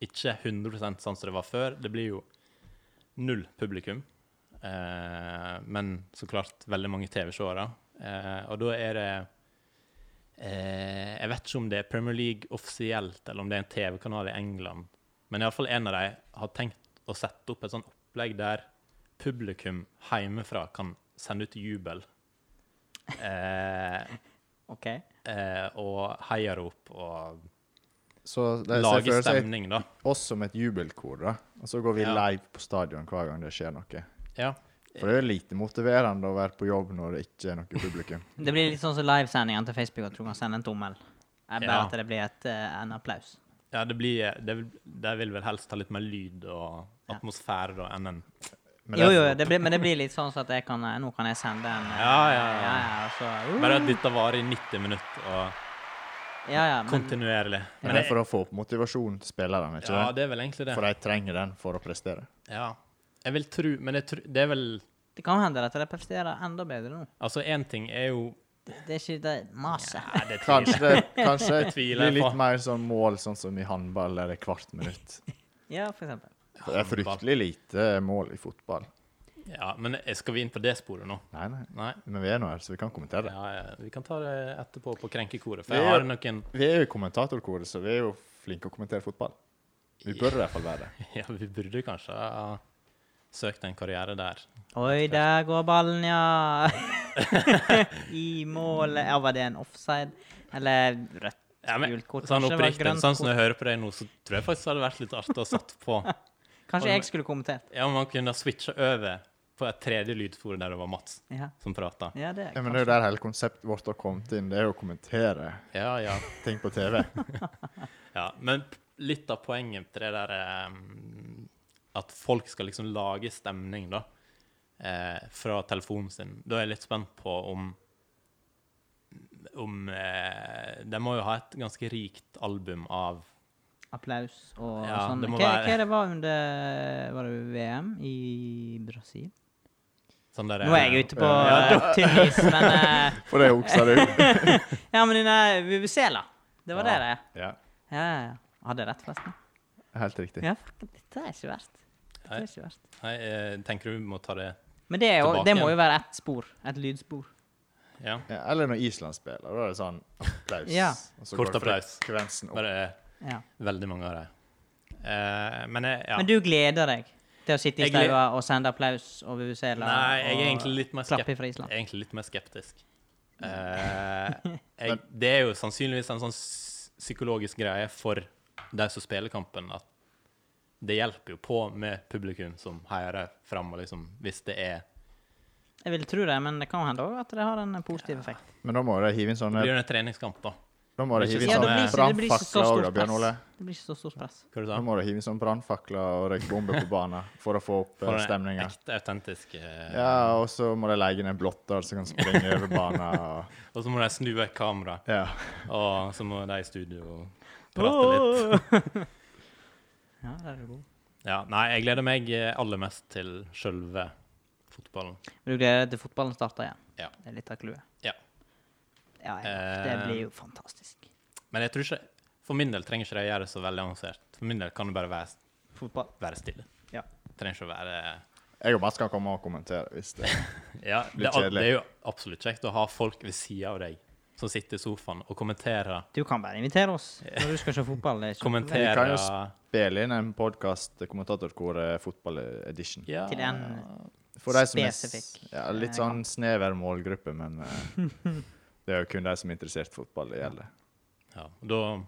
S1: ikke 100 sånn som det var før. Det blir jo null publikum, eh, men så klart veldig mange TV-seere. Eh, og da er det eh, Jeg vet ikke om det er Premier League offisielt, eller om det er en TV-kanal i England, men iallfall en av dem har tenkt å sette opp et sånt opplegg der publikum hjemmefra kan sende ut jubel. Eh,
S2: OK.
S1: eh, og heiarop og
S4: Så det ser
S1: lage
S4: for seg
S1: stemning, da.
S4: oss som et jubelkor, da. Og så går vi
S1: Ja.
S4: live på stadion hver gang det skjer noe.
S1: Ja.
S4: For det er jo lite motiverende å være på jobb når det ikke er noe publikum.
S2: Det blir litt sånn som livesendingene til Facebook, at du kan sende en tommel. Eh, Bare
S1: Ja.
S2: at det blir et, eh, en applaus.
S1: ja, det blir det, vil- De vil vel helst ha litt mer lyd og
S2: Ja.
S1: atmosfære da, enn en
S4: Men
S2: Jo,
S4: det-
S2: jo, det blir, men det blir litt sånn så at jeg kan eh, Nå kan jeg sende en eh,
S1: Ja, ja, ja.
S2: ja, ja, og så, uh,
S1: Bare at dette varer i 90 minutter, og
S2: Ja, ja, men
S1: Kontinuerlig.
S4: Men det er for å få opp motivasjon til spillerne, ikke
S1: Ja,
S4: det?
S1: det er vel egentlig det.
S4: For de trenger den for å prestere.
S1: [LAUGHS] Ja. Jeg vil tru, men jeg tru, det er vel
S2: det kan hende at de presterer enda bedre nå.
S1: Altså, én ting er jo
S2: Det er ikke det maset.
S1: Nei, det er
S4: Kanskje det kanskje det
S1: Tviler jeg
S4: blir
S1: på.
S4: litt mer sånn mål, sånn som i håndball, eller
S1: [LAUGHS]
S4: hvert minutt.
S2: Ja, for eksempel.
S4: For det er fryktelig lite mål i fotball.
S1: Ja, men skal vi inn på det sporet nå?
S4: Nei, nei.
S1: Nei.
S4: Men vi er nå her, så vi kan kommentere det.
S1: Ja, ja, vi kan ta det etterpå på krenkekoret, for jeg
S4: Det er-
S1: har noen
S4: Vi er jo i kommentatorkoret, så vi er jo flinke å kommentere fotball. Vi burde i hvert fall
S1: [LAUGHS]
S4: være det.
S1: Ja, vi burde kanskje ha søkt en karriere der.
S2: Oi, der går
S1: [LAUGHS]
S2: ballen, ja! [LAUGHS] I målet. Ja, var det en offside? Eller rødt?
S1: Ja, men,
S2: Gult kort,
S1: sånn
S2: kanskje det var
S1: oppriktig,
S2: grønt
S1: sånn som jeg hører på deg nå, så tror jeg faktisk det hadde vært litt artig å satt
S2: [LAUGHS]
S1: på
S2: Kanskje jeg skulle kommentert.
S1: Ja, man kunne switcha over på et tredje lydspor der det var Mats
S2: Ja,
S1: som prata.
S2: ja det
S4: Ja, men det er jo der hele konseptet vårt har kommet inn. Det er jo å kommentere
S1: Ja, ja,
S4: ting på TV.
S1: ja. Men p- litt av poenget til det der eh, At folk skal liksom lage stemning, da, eh, fra telefonen sin. Da er jeg litt spent på om om eh, De må jo ha et ganske rikt album av
S2: Applaus og
S1: Ja,
S2: sånn.
S1: det må
S2: Hva,
S1: være-
S2: hva det var under Var det VM i Brasil?
S1: sånn der
S2: Nå er jeg ute på
S1: Ja,
S2: eh, tynn is, men eh,
S4: [LAUGHS] For det okser du.
S1: [LAUGHS]
S2: Ja, men den der Vuvuzela. Det var det det er.
S4: Ja,
S2: Ja, ja, ja. Hadde jeg rett, forresten?
S4: helt riktig.
S2: Ja, fuck, dette er ikke verst. Dette er ikke verst.
S1: Nei, jeg tenker du må ta det
S2: Men det, er jo,
S1: Tilbake
S2: det må
S1: igjen.
S2: jo være ett spor. Et lydspor.
S1: Ja.
S4: Ja, eller når Island spiller, da er det sånn applaus.
S2: Ja.
S4: Og så
S1: Kort
S4: går
S1: applaus.
S4: frekvensen opp.
S1: Bare eh,
S2: Ja.
S1: veldig mange av dem. Eh, men jeg, ja.
S2: Men du gleder deg til å sitte i
S1: Jeg gled-
S2: staua og sende applaus og vuvuzela?
S1: Nei, jeg er
S2: og
S1: egentlig litt mer, skep
S2: klappe fra Island?
S1: egentlig litt mer skeptisk. Eh,
S2: [LAUGHS]
S1: jeg, det er jo sannsynligvis en sånn s- psykologisk greie for de som spiller kampen, at det hjelper jo på med publikum som heier deg fram, og liksom, hvis det er
S2: Jeg vil tro det, men det kan hende òg at det har en positiv effekt.
S4: Men da må de hive inn
S1: Det
S4: sånne,
S1: blir jo en treningskamp, da.
S4: da må de hive inn
S1: Ja, det
S4: sånne
S1: blir
S2: ikke- det blir ikke så
S4: brannfakler òg,
S2: stort
S4: da, Bjørn
S2: press.
S4: Ole.
S2: Det blir ikke så stort press.
S1: Hva du
S4: Da
S1: sa
S4: må du hive inn sånn brannfakler og røykbomber på banen for å få opp
S1: For
S4: eh,
S1: en
S4: stemninga.
S1: ekte, autentisk eh,
S4: Ja, og så må de leie inn en blotter som kan springe over banen. Og,
S1: Og så må de snu vekk kameraet.
S4: ja.
S1: Og så må de i studio og prate litt.
S2: [LAUGHS] Ja, der er du god.
S1: Ja, nei, jeg gleder meg eh, aller mest til sjølve fotballen.
S2: Men du gleder deg til fotballen starter igjen?
S1: Ja.
S2: Det er litt av clouet?
S1: Ja.
S2: Ja, ja. Det
S1: Eh.
S2: blir jo fantastisk.
S1: Men jeg tror ikke, for min del trenger ikke de gjøre det så veldig avansert. For min del kan det bare være,
S2: Fotball.
S1: være stille.
S2: Ja.
S1: Trenger ikke å være
S4: Jeg og Mats kan komme og kommentere hvis det
S1: Ja, det,
S4: Litt
S1: er-
S4: kjedelig.
S1: det er jo absolutt kjekt å ha folk ved sida av deg som sitter i sofaen og kommenterer.
S2: Du kan bare invitere oss når du skal se fotball. Det er ikke
S4: Vi kan
S1: Kommenterer
S4: jo spiller inn en eh, podkast kommentatorkoret Fotball Edition.
S1: ja,
S2: Til en-
S4: For de som er s-
S2: Spesifikk,
S4: ja, litt
S2: eh,
S4: sånn snever målgruppe,
S2: [LAUGHS]
S4: men eh, det er jo kun de som er interessert i fotball det gjelder.
S1: ja, da,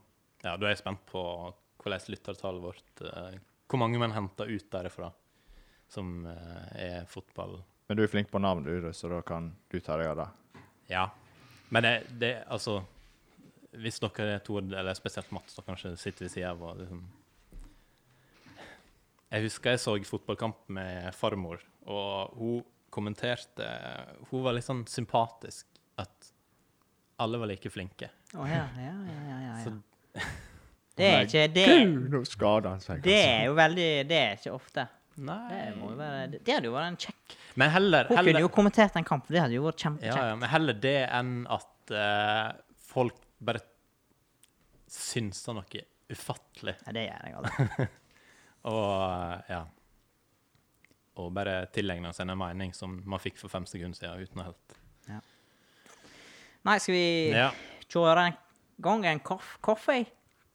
S1: ja, da er jeg spent på hvordan lyttertallet vårt eh, Hvor mange man henter ut derifra som eh, er fotball...
S4: Men du er flink på navn, du, så da kan du ta deg av det.
S1: Ja. Men det, det altså Hvis dere to, eller spesielt Mats, da kanskje sitter ved siden av og liksom Jeg husker jeg så fotballkamp med farmor, og hun kommenterte Hun var litt sånn sympatisk at alle var like flinke.
S2: Å, ja, ja, ja, ja, ja, Ah, ja.
S1: Så-
S2: Det er ikke det,
S4: Gud, nå skader han seg.
S2: det er jo veldig Det er ikke ofte. Det,
S1: Nei
S2: må jo være, det hadde jo vært en kjekk
S1: Men heller,
S2: Hun kunne
S1: heller,
S2: jo kommentert en kamp. Det hadde jo vært
S1: ja,
S2: kjempekjekt.
S1: ja, men heller det enn at eh, folk bare synser noe ufattelig.
S2: Ja, det gjør jeg altså. aldri.
S1: Og eh, ja. Og bare tilegne seg en mening som man fikk for fem sekunder siden uten å helt
S2: Nei, skal vi
S1: Ja.
S2: kjøre en gang en koff, koffe?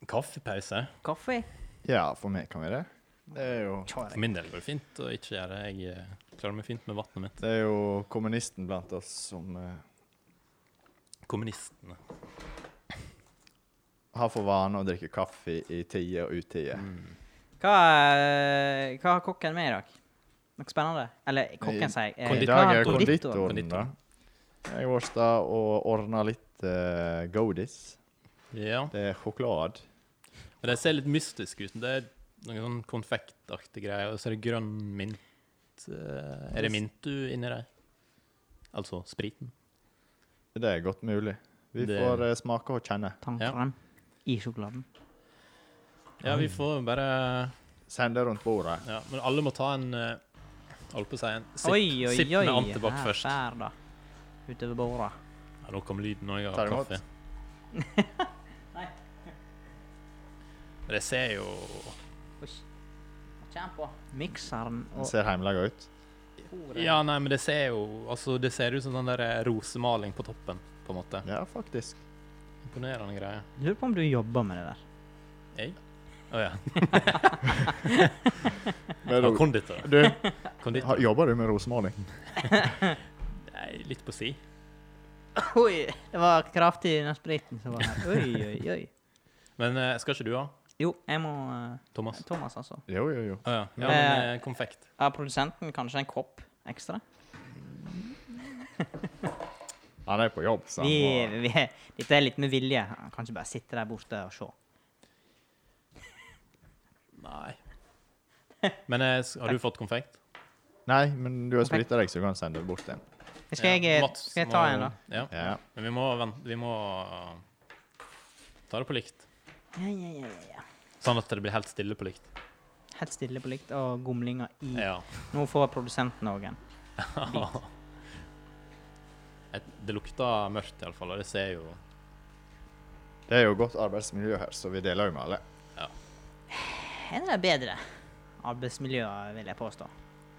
S1: Kaffepause.
S2: Koffe?
S4: Ja, for meg kan vi det. Det er jo,
S1: For min del går det fint å ikke gjøre det. Jeg eh, klarer meg fint med vannet mitt.
S4: det er jo kommunisten blant oss som eh,
S1: Kommunistene.
S4: har for vane å drikke kaffe i tide og utide.
S1: Mm.
S2: Hva, eh, hva har kokken med i dag? Noe spennende? Eller kokken, sier jeg. Eh,
S4: I
S1: Konditor.
S2: hva
S4: dag
S2: har
S4: er
S1: Konditor.
S4: konditoren, da. Jeg var hos deg og ordna litt eh, godis.
S1: Ja.
S4: Det er sjokolade.
S1: Men det ser litt mystisk ut. Det er noen sånn konfektaktig greier. Og så er det grønn mint. eh, Er det mint du inni der? Altså spriten?
S4: Det er godt mulig. Vi
S1: Det-
S4: får eh, smake og kjenne.
S2: Tannkrem i sjokoladen.
S1: Ja, vi får bare
S4: Send det rundt bordet.
S1: Ja, men alle må ta en eh, Holdt på å si en sipp,
S2: oi, oi,
S1: sipp
S2: oi.
S1: med antibac
S2: her,
S1: først.
S2: Der, da. Utover bordet.
S1: Ja, nå kom lyden òg av
S4: Tar imot.
S1: kaffe.
S2: [LAUGHS] Nei.
S1: Men det ser jo
S2: Oi. Kjenn på. Mikseren
S4: Den
S2: og
S4: ser heimelaga ut.
S2: bordet.
S1: Ja, nei, men det ser jo Altså, det ser ut som sånn der eh, rosemaling på toppen, på en måte.
S4: Ja, faktisk.
S1: Imponerende greie.
S2: Lurer på om du jobber med det der.
S1: Å ja.
S4: Men,
S1: Og konditor.
S4: du, har-
S1: konditor.
S4: jobber du med rosemaling?
S1: Nei, litt på si.
S2: [LAUGHS] Oi, det var kraftig i den spriten som var her. [LAUGHS] Oi, oi, oi.
S1: Men eh, skal ikke du ha,
S2: Jo, jeg må eh,
S1: Thomas?
S2: Thomas, altså.
S4: Jo, jo, jo.
S1: Å ja. ja, men
S2: Eh.
S1: eh, konfekt.
S2: Er produsenten kanskje en kopp ekstra?
S4: Han er på jobb, så han
S2: Vi,
S4: må
S2: vi, dette er litt med vilje. Han kan ikke bare sitte der borte og se.
S1: Nei. Men eh, s- har du fått konfekt?
S4: Nei, men du har
S2: Perfekt.
S4: splitta deg, så du kan sende det bort igjen.
S2: Skal
S1: Ja,
S2: jeg, eh,
S1: Mats
S2: skal jeg
S1: må-
S2: ta en, da?
S1: Ja.
S4: Ja.
S1: Men vi må vente Vi må ta det på likt.
S2: Ja, ja, ja, ja, ja.
S1: Sånn at det blir helt stille på likt.
S2: Helt stille på likt og gomlinger i.
S1: Ja.
S2: Nå får produsenten òg en.
S1: Et- Det lukter mørkt, iallfall, og det ser jo
S4: Det er jo godt arbeidsmiljø her, så vi deler jo med alle.
S2: Er det bedre arbeidsmiljø, vil jeg påstå?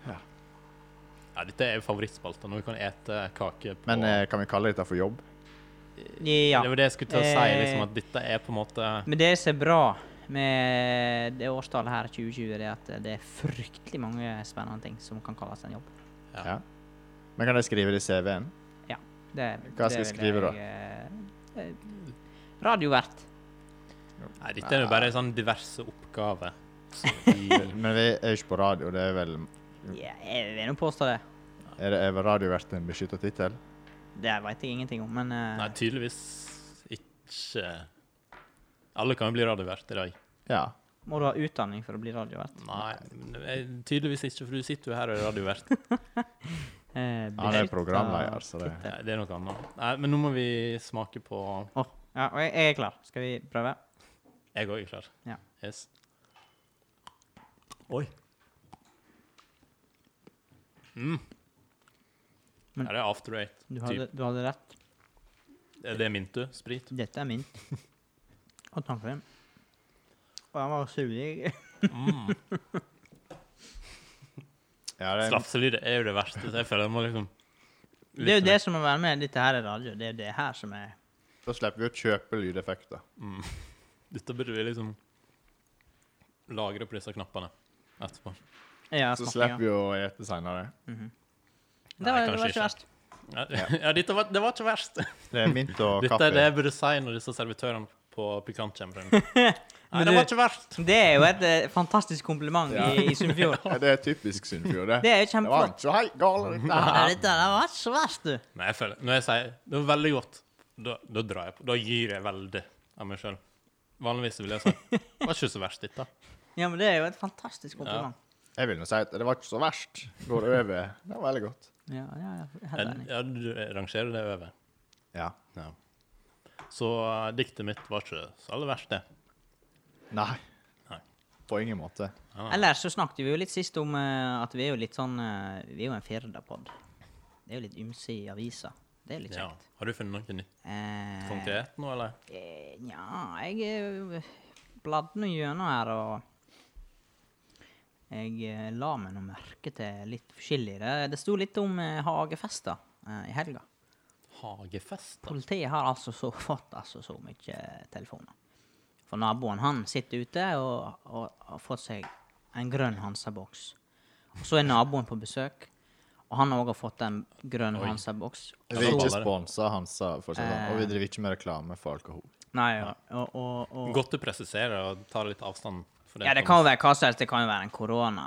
S1: Ja, dette er jo favorittspalta, når vi kan ete kake på
S4: Men eh, kan vi kalle dette for jobb?
S2: Ja.
S1: Det var det jeg skulle til å si,
S2: Eh.
S1: liksom, at dette er på en måte
S2: Men det som er bra med det årstallet her, 2020, det er at det er fryktelig mange spennende ting som kan kalles en jobb.
S1: Ja.
S4: Ja. Men kan jeg skrive det i
S1: [LAUGHS]
S4: CV-en?
S2: Det, eh,
S4: Hva skal jeg skrive da?
S2: da? Radiovert.
S1: Nei, dette er jo bare sånn diverse oppgaver. Så i-
S4: Men vi er jo ikke på radio, det er vel
S2: Ja, jeg vil nå påstå det.
S4: Er, det, er vel radio vært en beskytta tittel?
S2: Det veit jeg ingenting om, men eh,
S1: Nei, tydeligvis ikke Alle kan jo bli radiovert i dag.
S4: Ja.
S2: må du ha utdanning for å bli radiovert?
S1: Nei, men, eh, tydeligvis ikke, for du sitter jo her og er radiovert.
S2: Eh,
S4: Han er
S2: beskyttet
S4: programleder, så det
S2: tittel.
S1: Nei, Det er noe annet. Nei, men nå må vi smake på
S2: Åh, ja, og jeg, jeg er klar. Skal vi prøve?
S1: Jeg òg er klar.
S2: Ja.
S1: Yes. Oi. Mm.
S2: Men-
S1: ja, det er after eight.
S2: Du
S1: Typ.
S2: hadde, du hadde rett.
S1: Er det mintu? Sprit?
S2: Dette er mint. Og tannkrem. Og han var surlig.
S1: Mm.
S2: [LAUGHS]
S4: Ja, det er,
S1: Slafselyd er jo det verste, så jeg føler jeg må liksom
S2: Det er jo det som må være med. Dette her er radio. Det er jo det her som er
S4: Da slipper vi å kjøpe lydeffekter.
S1: mm. Dette burde vi liksom lagre på disse knappene etterpå.
S2: ja,
S4: Så
S2: smakinga.
S4: slipper vi å ete seinere.
S2: Mhm.
S1: Nei,
S2: Det var, det
S1: kanskje
S2: var ikke
S1: ikke.
S2: verst.
S1: Ja, [LAUGHS] ja dette var, det var ikke verst.
S4: Det er mint og
S1: [LAUGHS] Dette
S4: kaffe.
S1: er det jeg burde si når disse servitørene på Pikant kommer frem.
S2: [LAUGHS]
S1: Nei,
S2: Men
S1: det var
S2: du-
S1: ikke verst.
S2: Det er jo et eh, fantastisk kompliment
S4: Ja.
S2: i, i Sunnfjord.
S4: Ja, det er typisk Sunnfjord,
S1: [LAUGHS]
S4: det.
S2: Det er jo
S4: Det var
S2: kjempeflott.
S4: ikke så hei gale, dette
S2: Ja,
S4: her.
S2: dette her var ikke så verst, du.
S1: Men jeg føler, når jeg sier det var veldig godt, da, da drar jeg på. Da gir jeg veldig av meg sjøl. Vanligvis vil jeg si det var ikke så verst,
S2: [LAUGHS]
S1: dette.
S2: Ja, men det er jo et fantastisk kompliment.
S4: Jeg vil nå si at det var ikke så verst. Går over. Det var veldig godt.
S2: Ja, ja, ja. Helt
S1: Jeg,
S2: enig.
S1: jeg, jeg rangerer det over.
S4: Ja.
S1: Ja. Så eh, diktet mitt var ikke så aller verst, det.
S4: Nei.
S1: Nei.
S4: På ingen måte.
S1: Ja.
S2: Ellers så snakket vi jo litt sist om eh, at vi er jo litt sånn eh, Vi er jo en firdapodd. Det er jo litt ymse i avisa. Det er litt
S1: Ja. Sånn
S2: kjekt.
S1: Har du funnet noe nytt
S2: Eh,
S1: konkret nå, eller?
S2: eh, Nja, jeg eh, bladde nå gjennom her, og jeg eh, la meg nå merke til litt forskjellig. Det, det sto litt om eh, hagefester eh, i helga.
S1: Hagefest? da?
S2: Politiet har altså så, [LAUGHS] fått altså så mye telefoner. For naboen han sitter ute og, og har fått seg en grønn Hansa-boks. Og så er naboen på besøk, og han òg har fått en grønn
S1: Oi.
S2: Hansa-boks.
S4: Vi
S1: det
S4: er ikke
S1: var det.
S4: sponsa Hansa, for å si det sånn. Og vi driver ikke med reklame for alkohol.
S2: Nei, og, og, og, og
S1: Godt du presiserer og tar litt avstand. For
S2: Ja, det kan jo være hva som helst. Det kan jo være en korona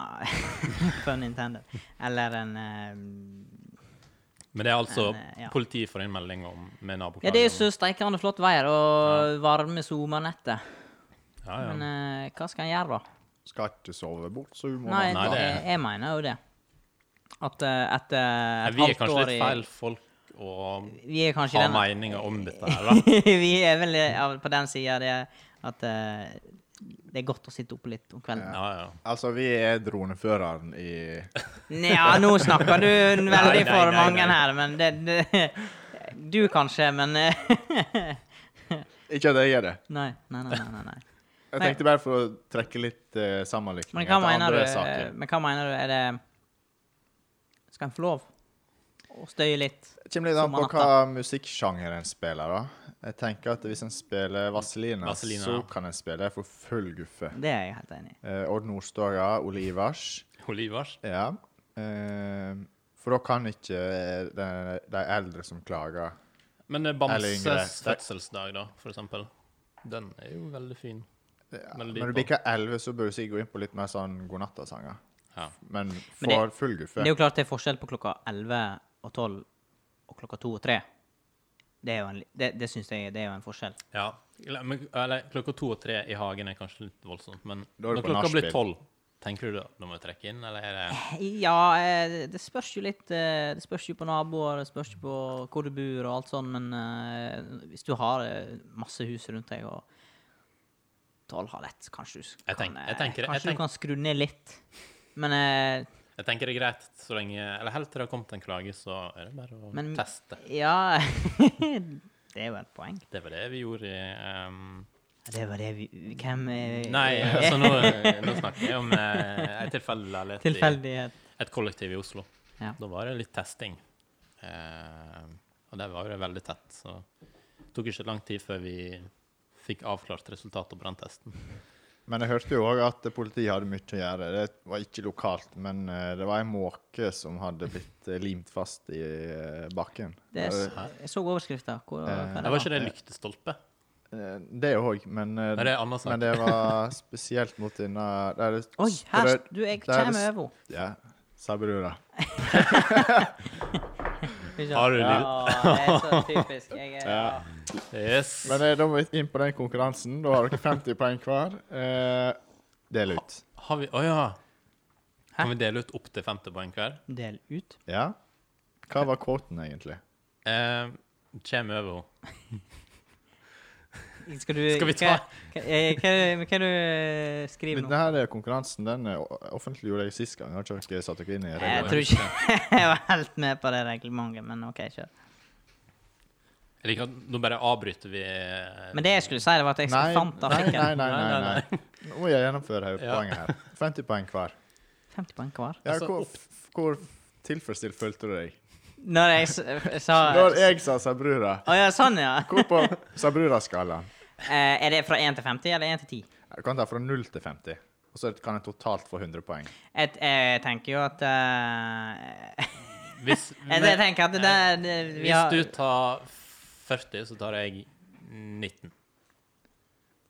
S2: [LAUGHS] for Nintendo. Eller en eh,
S1: Men det er altså
S2: Men, eh, ja.
S1: politiet får inn melding om, med naboklager.
S2: Ja, det er jo så steikende flott vær og varme sommernetter.
S1: ja, ja.
S2: Men eh, hva skal en gjøre, da?
S4: Skal ikke sove bort, så hun må
S2: Nei,
S1: Nei,
S2: det,
S1: det-
S2: jeg, jeg mener jo det. At eh, etter
S1: Nei,
S2: et
S1: Vi er
S2: halvt
S1: kanskje
S2: år
S1: litt
S2: i
S1: feil folk og
S2: Vi er kanskje i
S1: ha
S2: den
S1: meninger om dette her, da.
S2: [LAUGHS] Vi er vel av- på den sida det at eh, det er godt å sitte oppe litt om kvelden.
S1: Ja, ja.
S4: Altså, vi er droneføreren i
S2: Nja, nå snakker du veldig
S1: [LAUGHS] Nei, nei,
S2: for
S1: nei,
S2: mange
S1: nei.
S2: her, men det, det [LAUGHS] Du kanskje, men eh, [LAUGHS]
S4: Ikke at jeg er det.
S2: Nei, nei, nei. nei, nei, nei.
S4: Jeg
S2: Nei.
S4: tenkte bare for å trekke litt uh, sammenlikning
S2: Men hva, mener du, eh,
S4: saker.
S2: men hva mener du? Er det Skal en få lov å støye litt?
S4: Det kommer litt an på
S2: Sommernatta.
S4: hva musikksjanger en spiller, da. Jeg tenker at Hvis en spiller Vazelina,
S1: Vaselina,
S4: så
S1: ja.
S4: kan en spille for full guffe.
S2: Det er jeg helt enig i.
S4: Eh, Odd Nordstoga, Ole Ivars.
S1: Olivers.
S4: Ja. Eh, for da kan ikke eh, de, de eldre som klager
S1: Men eh,
S4: Eller
S1: Bamses
S4: yngre.
S1: fødselsdag, da, for eksempel. Den er jo veldig fin.
S4: ja, Når
S1: Melodi
S4: du
S1: på.
S4: bikker 11, så bør du sikkert gå inn på litt mer sånn godnattasanger.
S1: Ja.
S4: Men
S2: Men det-
S4: for full guffe.
S2: Det er jo klart det er forskjell på klokka 11 og 12 og klokka 2 og 3. Det, er jo en, li- det, det syns jeg det er jo en forskjell.
S1: Ja. Eller, men- eller klokka to og tre i hagen er kanskje litt voldsomt, men
S4: Da er
S1: når
S4: det på
S1: klokka
S4: nachspiel.
S1: blir tolv, tenker du da da må jeg trekke inn, eller er det
S2: Ja, eh, det spørs jo litt eh, Det spørs jo på naboer, det spørs jo på hvor du bor og alt sånn, men eh, hvis du har eh, masse hus rundt deg og tolv har lett, kanskje du s-
S1: Jeg
S2: kan,
S1: tenk-
S2: eh,
S1: jeg tenker- jeg
S2: kanskje
S1: tenk-
S2: du kan skru ned litt. Men eh,
S1: Jeg tenker det er greit så lenge Eller helt til det har kommet en klage, så er det bare å
S2: Men-
S1: teste.
S2: ja [LAUGHS] Det er jo et poeng.
S1: Det var det vi gjorde i ehm,
S2: Det var det vi Hvem eh,
S1: Nei, altså nå, nå snakker jeg om eh, en tilfeldighet
S2: [LAUGHS] Tilfeldighet.
S1: i et kollektiv i Oslo.
S2: Ja.
S1: Da var det litt testing. Eh, og der var det veldig tett, så det tok ikke lang tid før vi fikk avklart resultatet på den testen.
S4: Men jeg hørte jo òg at politiet hadde mye å gjøre. Det var ikke lokalt, men eh, det var en måke som hadde blitt eh, limt fast i eh, bakken.
S2: Det er,
S4: Eh,
S2: s- jeg så overskrifta. Hvor, hva
S4: Eh,
S2: det
S1: Det var ikke
S2: var.
S1: det lyktestolpe.
S4: eh, det òg, men, eh,
S1: Nei, det er altså. en annen sak.
S4: men det var spesielt mot denne der det
S2: Oi, her
S4: strø-
S2: s- Du, jeg
S4: der er det
S2: kommer
S4: s-
S2: over
S4: Ja, sa brura.
S2: henne.
S1: Har du
S2: [LAUGHS]
S1: lyd?
S2: Ja, det er så typisk. Jeg er,
S4: Ja.
S1: Yes.
S4: Men eh, da må vi inn på den konkurransen. Da har dere 50 poeng hver. Eh, del ut.
S1: Har vi Å ja. Kan vi dele ut opptil 50 poeng hver?
S2: Del ut.
S4: Ja. Hva var kvoten, egentlig?
S1: Eh, Kjem over henne.
S2: Skal du
S1: Skal vi ta-
S2: Hva, hva, hva, hva du eh, skriver
S4: Men
S2: nå?
S4: denne konkurransen den eh, offentliggjorde jeg sist gang. Har ikke dere satt dere inn i
S2: Jeg
S4: reglene?
S2: tror ikke [LAUGHS] jeg var helt med på det reglementet, men OK, kjør.
S1: Jeg liker at nå bare avbryter vi eh,
S2: Men det jeg skulle si, det var at jeg
S4: Nei,
S2: fant
S4: nei, nei,
S2: artikkelen.
S4: nei,
S1: Nei,
S4: nei,
S1: nei,
S4: nei. Nå må jeg gjennomføre her,
S1: Ja.
S4: poenget her. 50 poeng hver.
S2: 50 poeng hver.
S4: Ja,
S1: Altså,
S4: hvor, f- hvor tilfredsstilt følte du deg?
S2: Når jeg s- sa
S4: Når jeg sa Sabrura,
S2: Å ja, sånn, ja.
S4: hvor på Sabrura-skalaen?
S2: Eh, er det fra 1 til 50, eller 1 til 10?
S4: Du kan ta fra 0 til 50, og så kan en totalt få 100 poeng.
S2: Jeg, jeg tenker jo at eh, [LAUGHS]
S1: Hvis,
S2: Jeg
S1: men-
S2: tenker at det, det, det vi
S1: hvis
S2: har
S1: du tar 40, så tar jeg 19.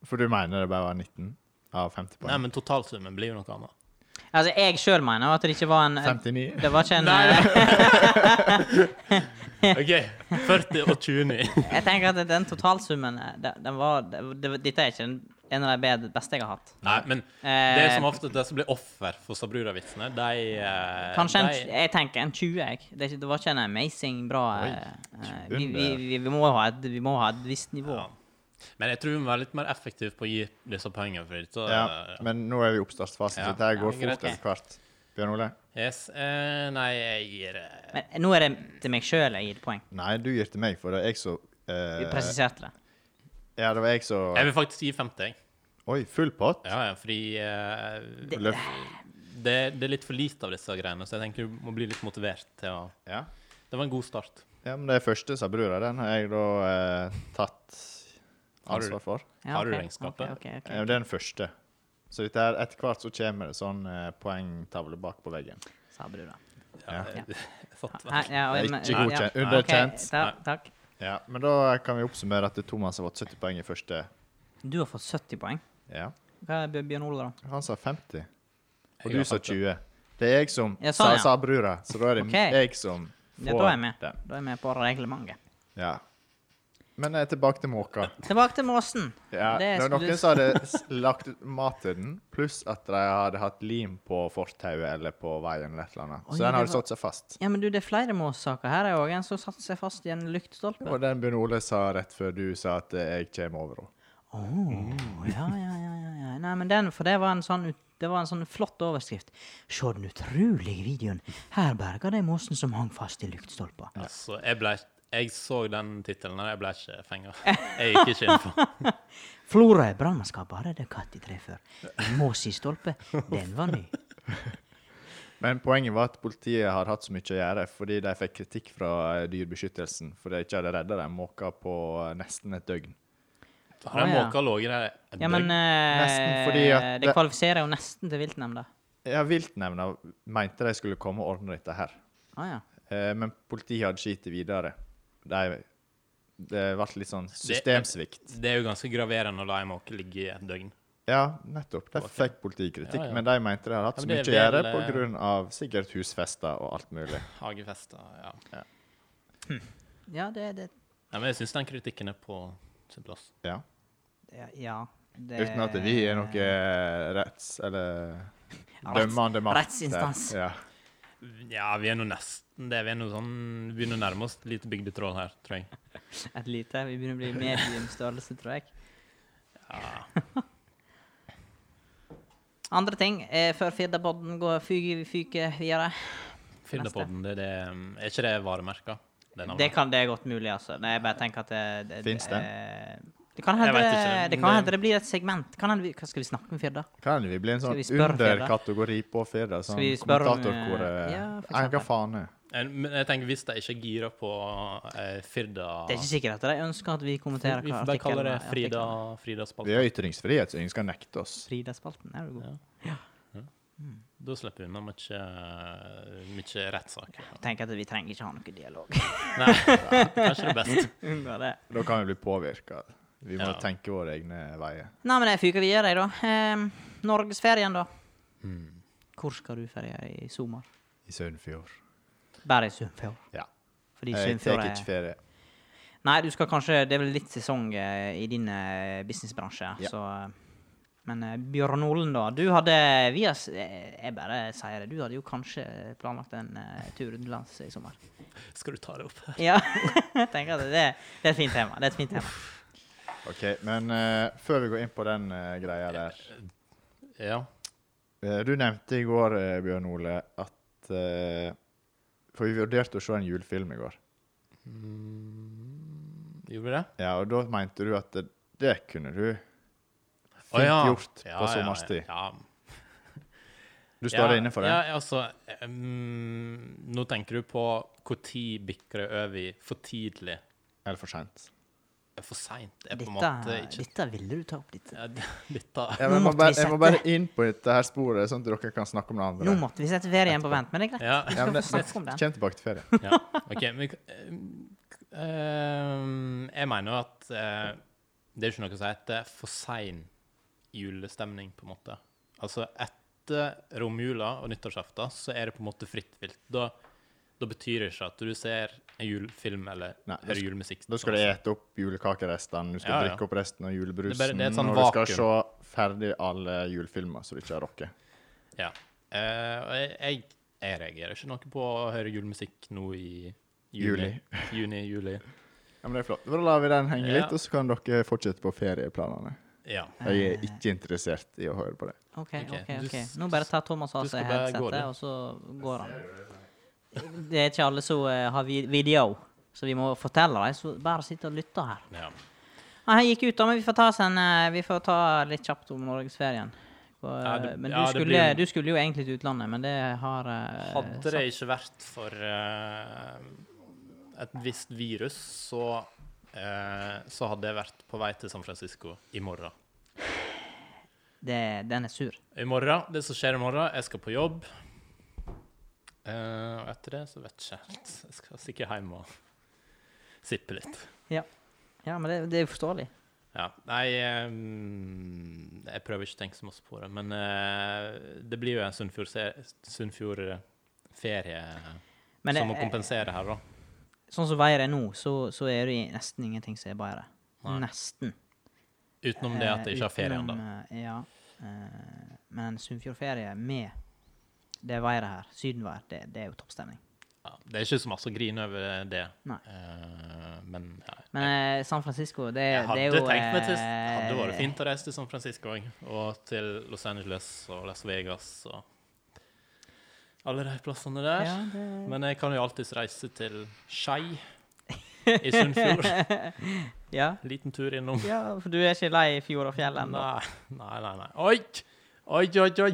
S4: For du mener det bare var 19 av 50
S1: Nei,
S4: poeng?
S1: men totalsummen blir jo noe
S2: [LAUGHS]
S1: annet.
S2: Altså, jeg sjøl mener at det ikke var en
S4: 59?
S2: Det var ikke en
S1: Nei,
S2: eh,
S1: OK. 40 og 29.
S2: Jeg tenker at den totalsummen eh, den, den var det, det, Dette er ikke en, en av de bedre, beste jeg har hatt.
S1: Nei, men
S2: Eh,
S1: det er som ofte det som blir offer for Sabrura-vitsene, de eh,
S2: Kanskje en,
S1: de-
S2: jeg tenker en 20. Jeg. Det, er ikke- det var ikke en amazing bra eh, eh, vi, vi,
S4: under.
S2: vi, vi, må ha et, vi må ha et visst nivå.
S1: ja. Men jeg tror vi må være litt mer effektive på å gi disse poengene. For dette,
S4: Ja,
S1: eh,
S4: men nå er vi i oppstartsfasen,
S1: Ja.
S4: så dette her går
S1: Ja, greit.
S4: fort etter hvert. Bjørn Ole?
S1: yes, eh, nei, jeg gir eh,
S2: Men nå er det til meg sjøl jeg gir poeng.
S4: Nei, du gir til meg, for det er jeg som
S2: Vi
S4: eh,
S2: presiserte det.
S4: Ja, det var jeg som
S1: Jeg vil faktisk gi 50. jeg.
S4: Oi, full pott?
S1: Ja, ja, fordi eh,
S2: Det-
S4: Løft.
S1: det, det er litt for lite av disse greiene, så jeg tenker du må bli litt motivert til å
S4: Ja.
S1: Det var en god start.
S4: Ja, men det første sa brura, den har jeg da eh, tatt
S1: Har du-
S4: ansvar for.
S2: Ja,
S1: Har du
S2: ok,
S1: regnskapet?
S2: ok, ok, ok.
S4: Eh, Det er den første. Så dette her, etter hvert så kommer det sånn eh, poengtavle bak på veggen.
S2: Sa brura.
S1: Ja,
S2: Ja.
S1: jeg [LAUGHS] satt
S2: Nei,
S1: der.
S2: ja,
S4: Det er
S2: men-
S4: ikke
S2: ja,
S4: godkjent.
S2: ja,
S4: Underkjent.
S2: ok, ta- takk.
S4: Ja, Men da kan vi oppsummere at Thomas har fått 70 poeng i første.
S2: Du har fått 70 poeng.
S4: Ja.
S2: Hva er Bjørn Ole, da?
S4: Han sa 50. Og
S1: Jeg
S4: du
S1: har
S4: sa
S1: fått det.
S4: 20. Det er jeg som
S2: Ja,
S4: sa,
S2: sånn, ja.
S4: sa brura, så da er det
S2: Ok.
S4: jeg som
S2: Ja, da er jeg med.
S4: den.
S2: Da er jeg med på reglementet.
S4: Ja. Men eh, tilbake til måka.
S2: Tilbake til måsen.
S4: Ja, det
S2: Det
S4: var
S2: skulle-
S4: noen som hadde s- lagt ut mat til den, pluss at de hadde hatt lim på fortauet eller på veien. eller et eller annet.
S2: Oi,
S4: Så den
S2: det
S4: hadde
S2: var-
S4: satt seg fast.
S2: Ja, men du, det er flere måssaker. Her er òg en som satte seg fast i en lyktestolpe.
S4: Og den Bjørn Ole sa rett før du sa at eh, jeg kommer over henne.
S2: Åh, ja, ja, ja, ja, ja. Nei, men den, for det var en sånn, ut- det var en sånn flott overskrift. Se den utrolige videoen. Her berga de måsen som hang fast i lyktstolpa.
S1: Altså, jeg ble Jeg så den tittelen, og jeg ble ikke
S2: [LAUGHS]
S1: fenga. Jeg gikk ikke inn for
S2: Florøy brannmannskap har redda katt i tre før. Mås i stolpe, den var ny.
S4: Men poenget var at politiet har hatt så mye å gjøre fordi de fikk kritikk fra eh, Dyrebeskyttelsen fordi de ikke hadde redda den måka på eh, nesten et døgn.
S1: Har den
S2: Å, ja.
S1: måka ligget der et
S2: Ja, men
S1: døgn?
S2: eh,
S4: Nesten fordi at
S2: det
S4: det-
S2: kvalifiserer jo nesten til viltnemnda.
S4: Ja, Viltnemnda mente de skulle komme og ordne dette her,
S2: Ah, ja.
S4: Eh, men politiet hadde ikke gitt det videre. De, det ble litt sånn systemsvikt.
S1: Det er jo ganske graverende å la en måke ligge i et døgn.
S4: Ja, nettopp. De fikk politiet kritikk,
S1: Ja, ja.
S4: men de mente de hadde hatt
S1: Ja,
S4: så mye
S1: men
S4: å
S1: det er
S4: gjøre
S1: vel, eh,
S4: pga. sikkert husfester og alt mulig.
S1: Hagefester, ja. ja.
S2: ja, det, det
S1: Men jeg syns den kritikken er på sin plass.
S4: Ja.
S2: det- Ja. Det,
S4: Uten at vi er noe eh, retts... eller
S2: Ja, retts-
S4: dømmende makt.
S2: rettsinstans.
S4: Ja.
S1: Ja, vi er nå nesten det. Vi er nå sånn vi begynner å nærme oss et lite bygdetroll her, tror jeg.
S2: Et lite Vi begynner å bli mediumstørrelse, tror jeg. Andre ting eh, før Firdapodden går fyker fyke videre.
S1: Filderpodden, det er det um, Er ikke det varemerka? Det navnet?
S2: Det kan det er godt mulig, altså. Nei, jeg bare tenker at det, det
S4: Finns det?
S2: eh, Det kan
S1: Jeg
S2: hende
S1: vet ikke,
S2: det,
S1: men
S2: kan
S1: det-
S2: hende det blir et segment. Kan hende vi, hva skal vi snakke om Firda?
S4: Kan vi bli en
S2: Skal
S4: sånn
S2: vi spørre
S4: underkategori på Firda? Sånn
S2: Skal vi spørre om, eh,
S4: kommentatorkoret
S2: ja, for
S4: Nei, hva
S2: eksempel.
S4: faen er
S1: En- Men jeg tenker hvis de ikke girer på eh, Firda
S2: Det er ikke sikkert at de ønsker at vi kommenterer
S1: Vi
S2: hva
S1: får bare kalle det
S2: artiklene-
S1: Frida,
S2: artiklene-
S1: Frida-spalten.
S4: Vi har ytringsfrihet, så ingen skal nekte oss.
S2: Frida-spalten. Er du god?
S1: Ja. Da slipper vi unna mye, eh, mye rettssaker.
S2: Jeg tenker at vi trenger ikke ha noe dialog. [LAUGHS]
S1: Nei, kanskje det er best.
S2: Unngå det.
S4: Da kan vi bli påvirka. Vi må
S1: Ja.
S4: tenke våre egne veier.
S2: Nei, men jeg fyker videre, jeg, da. Ehm, Norgesferien, da. Hvor skal du ferie i sommer?
S4: I Sunnfjord.
S2: Bare i Sunnfjord.
S4: Ja.
S2: Fordi
S4: Jeg
S2: Sunnfjord eh.
S4: tar ikke
S2: er
S4: ferie.
S2: Nei, du skal kanskje Det er vel litt sesong eh, i din eh, businessbransje,
S4: Ja.
S2: så eh, Men eh, Bjørn Olen, da. Du hadde vi har, s- eh, Jeg bare sier det. Du hadde jo kanskje planlagt en eh, tur utenlands i sommer.
S1: Skal du ta det opp?
S2: Ja. [LAUGHS] jeg tenker at det, det er et fint tema. Det er et fint tema.
S4: OK, men eh, før vi går inn på den eh, greia der
S1: Ja.
S4: Eh, Du nevnte i går, eh, Bjørn Ole, at eh, For vi vurderte å se en julefilm i går.
S1: Gjorde vi det?
S4: Ja, og da mente du at det, det kunne du
S1: Å,
S4: fint
S1: ja.
S4: gjort på
S1: Ja, ja,
S4: sommerstid.
S1: Ja,
S4: Du står
S1: ja,
S4: inne for det?
S1: Ja, altså em, Nå tenker du på når bikker det over i for tidlig.
S4: Eller for seint?
S1: For seint er på en
S2: Dette,
S1: måte ikke
S2: dette ville du ta opp, dette.
S1: ja, [LAUGHS] d- Dette
S4: Jeg, må
S2: måtte vi
S4: bare- jeg må bare
S2: sette-
S4: inn på dette her sporet, sånn at dere kan snakke om det andre.
S2: Nå måtte vi sette ferien på vent, men det er greit.
S1: Ja.
S2: Vi
S4: Ja,
S2: skal
S4: men det,
S2: få
S4: det,
S2: snakke om den.
S4: kjem tilbake til ferie.
S1: ja. OK. Men em, em, jeg mener jo at eh, det er jo ikke noe som heter for sein julestemning, på en måte. Altså etter romjula og nyttårsaften så er det på en måte fritt vilt. Da, da betyr det ikke at du ser en julefilm eller
S4: Nei,
S1: hører julemusikk. Altså,
S4: Da skal du ete opp julekakerestene, du skal
S1: Ja, ja.
S4: drikke opp resten av julebrusen,
S1: Det er bare- det er et sånn
S4: og du skal se
S1: vakuum.
S4: ferdig alle julefilmer som du ikke har rukket.
S1: Ja. Eh, og jeg, jeg, jeg reagerer ikke noe på å høre julemusikk nå i juli. Juni, juli.
S4: Ja, men det er flott. Da lar vi den henge
S1: Ja.
S4: litt, og så kan dere fortsette på ferieplanene.
S1: Ja.
S4: Jeg er ikke interessert i å høre på det.
S1: Ok,
S2: OK, ok,
S1: du
S2: ok.
S1: s-
S2: Nå bare tar Thomas av
S1: du
S2: seg
S1: skal bare gå,
S2: headsetet,
S1: du.
S2: og så går han. Det er ikke alle som eh, har vi- video, så vi må fortelle dem. Så bare sitt og lytte her.
S1: ja.
S2: Nei, han gikk ut, da, men vi får ta, oss en, eh, vi får ta litt kjapt om norgesferien. Og, eh,
S1: Ja, det-
S2: Men du,
S1: ja, det
S2: skulle,
S1: blir jo-
S2: du skulle jo egentlig til utlandet, men det har eh,
S1: Hadde det
S2: satt-
S1: ikke vært for eh, et visst virus, så, eh, så hadde jeg vært på vei til San Francisco i morgen.
S2: det, Den er sur.
S1: I morgen, Det som skjer i morgen Jeg skal på jobb. Eh, og etter det så vet jeg ikke helt. Jeg skal sikkert hjem og sippe litt.
S2: Ja, men det, det er forståelig.
S1: Ja. Nei, ehm, jeg prøver ikke å tenke så masse på det, men eh, det blir jo en Sunnfjord-ferie
S2: Men
S1: som
S2: det-
S1: må kompensere her, da.
S2: Sånn som været er nå, så, så er det i- nesten ingenting som er bedre.
S1: Nei.
S2: Nesten.
S1: Utenom det at jeg ikke har
S2: Eh,
S1: ferie
S2: utenom,
S1: ennå.
S2: eh, Ja. eh, Men en Sunnfjordferie med det været her, sydenvær, det, det er jo toppstemning.
S1: Ja, det er ikke så masse å grine over det.
S2: Nei.
S1: Eh, men ja,
S2: Men eh, San Francisco, det,
S1: jeg
S2: er-
S1: hadde
S2: det er jo
S1: tenkt meg til Det
S2: eh,
S1: hadde vært fint å reise til San Francisco òg. Og til Los Angeles og Las Vegas og alle de plassene der.
S2: Ja, det,
S1: Men jeg kan jo alltids reise til Skei i Sunnfjord.
S2: [LAUGHS] ja.
S1: Liten tur innom.
S2: ja, for du er ikke lei fjord og fjell ennå?
S1: Nei, nei, nei. nei. Oi! Oi, oi, oi!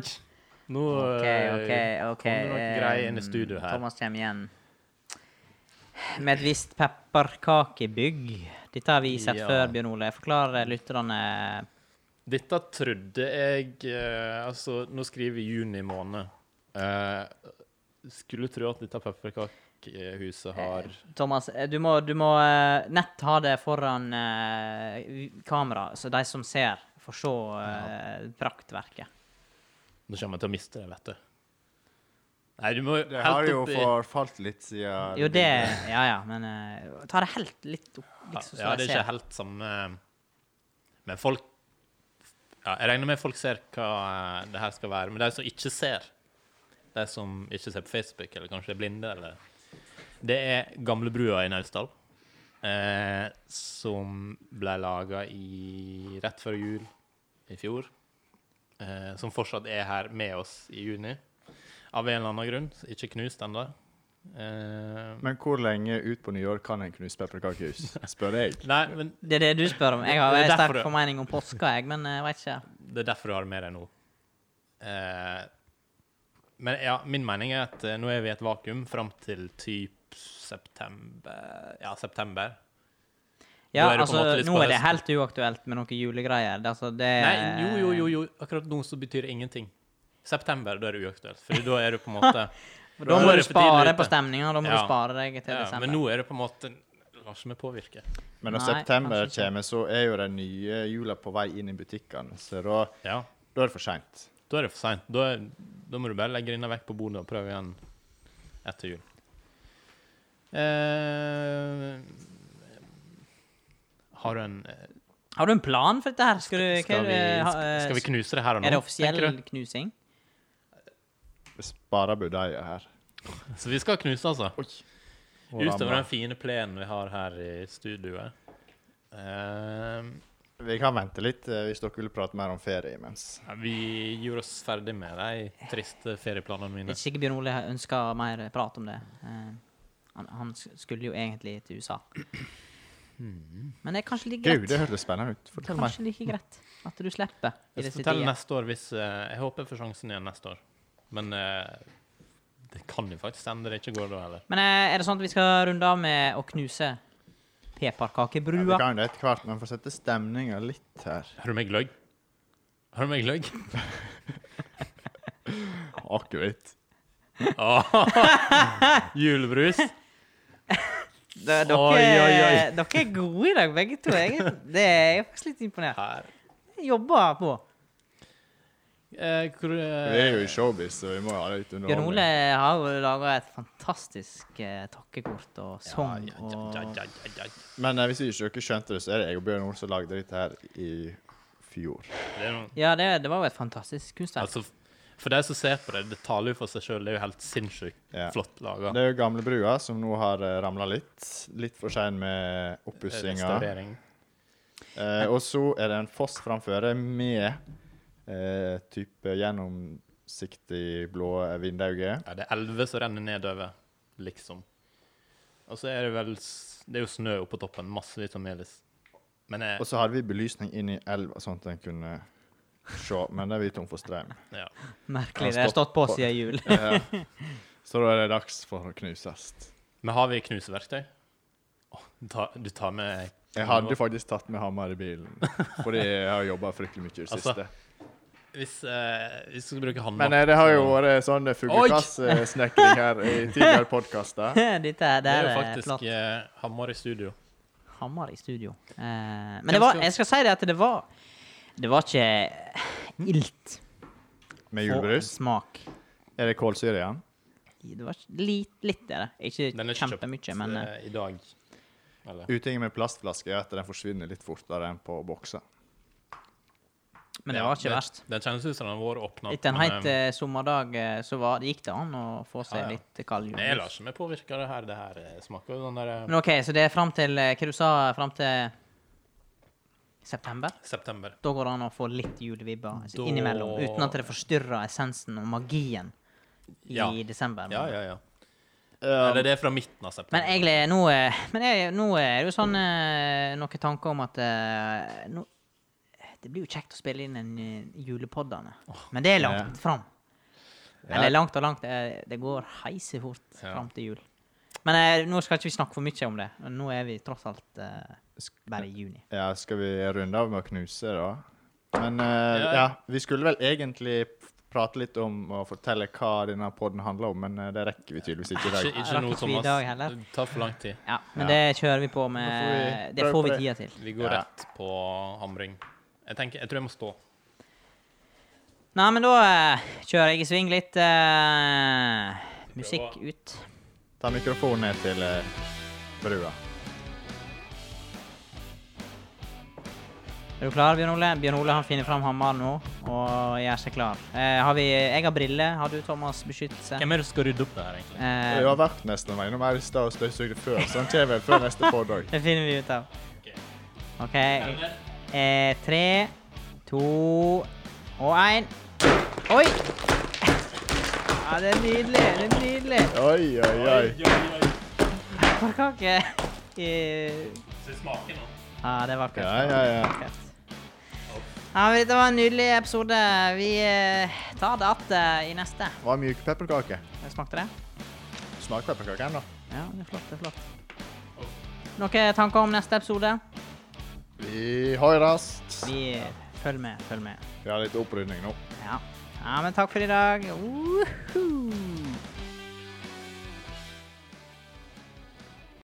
S1: Nå
S2: OK,
S1: eh,
S2: OK. ok.
S1: kom det noe
S2: eh,
S1: greier inn i studio her.
S2: Thomas kommer igjen med et visst pepperkakebygg. Dette har vi sett
S1: Ja.
S2: før, Bjørn Ole. Forklar eh, lytterne
S1: Dette trodde jeg eh, Altså, nå skriver vi juni måned. Eh, skulle tro at dette pepperkakehuset har
S2: Thomas, eh, du må, du må eh, nett ha det foran eh, vi- kamera, så de som ser, får se eh, praktverket.
S1: Nå kommer jeg til å miste det, vet du. Nei, du må
S4: Det har
S1: helt
S4: jo
S1: opp i-
S4: forfalt litt siden
S2: Jo, det Ja, ja, men eh, ta det helt litt opp, liksom, så
S1: Ja,
S2: de
S1: det er ikke
S2: ser.
S1: helt samme Men folk ja, Jeg regner med folk ser hva eh, det her skal være. Men de som ikke ser, de som ikke ser på Facebook, eller kanskje er blinde, eller Det er gamlebrua i Naustdal. Eh, som ble laga i rett før jul i fjor. Eh, som fortsatt er her med oss i juni. Av en eller annen grunn. Ikke knust ennå. Eh,
S4: Men hvor lenge ut på New York kan en knuse
S2: [LAUGHS]
S4: pepperkakehus? Spør jeg.
S1: nei, men
S2: Det er det du spør om. Jeg har
S1: Det er
S2: en
S1: derfor
S2: sterk
S1: det-
S2: formening om påska, jeg, men jeg vet ikke.
S1: Det er derfor du har det med deg nå. Eh, men ja, min mening er at eh, nå er vi i et vakuum fram til typ september Ja, september.
S2: Ja,
S1: Da er det på en
S2: altså,
S1: måte litt
S2: nå
S1: på
S2: er det
S1: høsten.
S2: helt uaktuelt med noen julegreier. Det, altså, det,
S1: Nei, jo, jo, jo, jo. Akkurat nå så betyr det ingenting. September, da er det uaktuelt. For da er du på en [LAUGHS] måte
S2: For
S1: Da
S2: Da
S1: er
S2: må
S1: det
S2: du
S1: for tidlig
S2: spare
S1: ute.
S2: på stemninga. Da må
S1: Ja.
S2: du spare deg til
S1: ja, Men
S2: desember.
S1: nå er det på en måte Lar ikke meg påvirke.
S4: Men når
S2: Nei,
S4: september
S2: kanskje ikke.
S4: kommer, så er jo de nye jula på vei inn i butikkene. Så da,
S1: Ja,
S4: da er det for seint.
S1: da er det for seint. Da, er- da må du bare legge denne vekk på bordet og prøve igjen etter jul. Eh, har du en eh,
S2: Har du en plan for dette her? Skal, du, Eh, hva
S1: Skal
S2: er det-
S1: vi,
S2: ha- eh,
S1: skal skal vi knuse det her og nå?
S2: Er det
S1: tenker
S2: offisiell
S1: du?
S2: knusing?
S4: Sparer budeia her.
S1: Så vi skal knuse, altså.
S4: Og
S1: Utover
S4: rammer.
S1: den fine plenen vi har her i studioet. Ehm,
S4: Vi kan vente litt eh, hvis dere vil prate mer om ferie imens.
S1: ja, vi gjorde oss ferdig med de triste ferieplanene
S2: Jeg
S1: mine.
S2: er ikke sikker Bjørn Ole ønsker mer prat om det. Eh, han, han s- skulle jo egentlig til USA. Men det er kanskje like
S4: Gud,
S2: greit.
S4: det hørtes spennende ut. Fortell meg.
S2: Kanskje like greit at du slipper i
S1: Jeg
S2: disse
S1: skal fortelle
S2: tider.
S1: neste år hvis eh, Jeg håper jeg får sjansen igjen neste år. Men eh, det kan jo faktisk hende det ikke går da heller.
S2: Men eh, er det sånn at vi skal runde av med å knuse
S4: Ja,
S2: pepperkakebrua?
S4: vi kan jo det etter hvert, men for å sette stemninga litt her
S1: Har du meg gløgg? Har du meg [LAUGHS] gløgg?
S4: Akevitt.
S1: Ah, Julebrus?
S2: Da- Dere,
S1: Oi, oi, oi.
S2: dere er gode i dag, begge to. Jeg, er- det er jeg faktisk litt imponert.
S1: Her.
S2: Jeg Jobber på.
S1: Eh, hvor, eh,
S4: Vi er jo i showbiz, så vi må jo ha litt
S2: Bjørn Ole
S4: underholdning.
S2: har jo laga et fantastisk eh, takkekort og
S1: Ja,
S2: sang
S1: ja, ja, ja, ja, ja, ja.
S4: Men eh, hvis ikke dere skjønte det, så er det jeg og Bjørn Ole som lagde dette her i fjor.
S1: Det er noe
S2: og Ja, det, det var jo et fantastisk kunstverk.
S1: Altså, f- for de som ser på det, det taler jo for seg sjøl. Det er jo helt sinnssykt
S4: Ja.
S1: flott laga.
S4: Det er jo gamlebrua som nå har ramla litt. Litt for sein med oppussinga.
S1: Restaurering.
S4: Eh, og så er det en foss framføre med eh, type gjennomsiktig blå vindauge.
S1: Ja, det er elver som renner nedover, liksom. Og så er det vel s- Det er jo snø oppå toppen. Massevis av melis. Men
S4: Og
S1: jeg,
S4: så hadde vi belysning inn i elva, sånn at en kunne se. Men det er vi tom for strøm.
S1: ja.
S2: Merkelig.
S4: Han
S2: Det har stått på
S4: stått på.
S2: siden [LAUGHS] jul.
S4: Ja. [LAUGHS] Så da er det dags for å knuses.
S1: Men har vi knuseverktøy? Åh, du tar- du tar med
S4: Jeg hadde faktisk tatt med hammer i bilen, fordi jeg har jobba fryktelig mye i det
S1: Altså,
S4: siste.
S1: Hvis, eh, hvis du skal bruke håndmakt
S4: Men eh, det har jo
S1: så-
S4: vært sånn fuglekassesnekring her i tidligere podkaster.
S2: Dette her,
S1: Det
S2: det
S1: er jo
S2: er flott.
S1: faktisk eh, hammer i studio.
S2: Hammer i studio. Eh, men
S1: Hvem
S2: det var,
S1: skal-
S2: jeg skal si det at det var Det var ikke ilt
S4: Med julebrus.
S2: smak.
S4: Er det kålsyre igjen?
S2: Det var litt, litt det. Ikke
S1: Den er ikke
S2: kjempemye,
S1: kjøpt
S2: men eh,
S1: eh, i dag. Eller?
S4: Utingen med plastflasker er at den forsvinner litt fortere enn på bokser.
S2: Men det
S1: Ja,
S2: var ikke verst.
S1: Den kjennes ut som den har vært åpna.
S2: Etter en heit eh, sommerdag eh, så var, det gikk det an å få seg
S1: Ja, ja.
S2: litt kald
S1: Nei, jeg lar
S2: julebrus.
S1: ikke meg påvirke av det her. Det her eh, smaker jo sånn der eh,
S2: Men OK, så det er fram til eh, Hva du sa fram til september?
S1: september.
S2: Da går det an å få litt julevibber altså,
S1: Da-
S2: innimellom, uten at det forstyrrer essensen og magien i
S1: Ja.
S2: desember.
S1: Ja, ja, ja.
S4: Um,
S1: Eller det er fra midten av
S2: Men
S1: september.
S2: egentlig, nå, eh, men jeg, nå er det jo sånn eh, noen tanker om at eh, nå, Det blir jo kjekt å spille inn en eh, julepoddene. Men det er langt
S4: Ja.
S2: fram.
S4: Ja.
S2: Eller langt og langt. eh, Det går heise fort
S1: Ja.
S2: fram til jul. Men eh, nå skal ikke vi snakke for mye om det. Nå er vi tross alt eh,
S4: sk-
S2: bare i juni.
S4: Um, ja, skal vi runde av med å knuse, da? Men eh,
S1: Ja.
S4: ja. vi skulle vel egentlig prate litt om og fortelle hva denne podden handler om, men eh, det rekker vi tydeligvis ikke i dag.
S1: Ikke, ikke
S2: Rakk
S1: nå,
S2: ikke vi i
S1: Thomas.
S2: dag heller?
S1: Det tar for lang tid.
S2: Ja, Men
S4: Ja.
S2: det kjører vi på
S4: Da får
S2: med.
S4: vi
S2: Det
S4: prøve
S2: får
S4: på
S2: vi
S4: det.
S2: tida til.
S1: Vi går
S4: Ja.
S1: rett på hamring. Jeg, tenker, jeg tror jeg må stå.
S2: Nei, men da eh, kjører jeg i sving litt eh, musikk
S1: prøver.
S2: ut.
S4: Ta mikrofonen ned til eh, brua.
S2: Er du klar, Bjørn Ole? Bjørn Ole han finner fram hammeren nå og gjør seg klar. Eh, har vi, jeg har briller. Har du, Thomas, beskyttelse?
S1: Hvem er det som skal rydde opp det her, egentlig?
S2: Eh,
S4: Jeg har vært nesten meg innom her i stad og støvsugde før, så han kommer vel før neste podd òg.
S1: [LAUGHS]
S2: det finner vi ut av.
S1: Ok.
S2: OK. Eh, tre, to og én. Oi! Ja, det er nydelig. Det er nydelig.
S4: Oi, oi, oi.
S2: Morkake. Eh,
S1: Så det smaker nå.
S2: Ja, det er vakkert.
S4: Ja, ja, ja.
S2: Vakkert. Ja, men Dette var en nydelig episode. Vi eh, tar det igjen i neste.
S4: Var myk pepperkake.
S2: Smakte det?
S4: Smak pepperkake ennå.
S2: Ja, det er flott, det er flott. Noen tanker om neste episode?
S4: Vi høres.
S2: Vi følger med, følger med.
S4: Vi har litt opprydning nå.
S2: Ja. ja, men takk for i dag. Woohoo!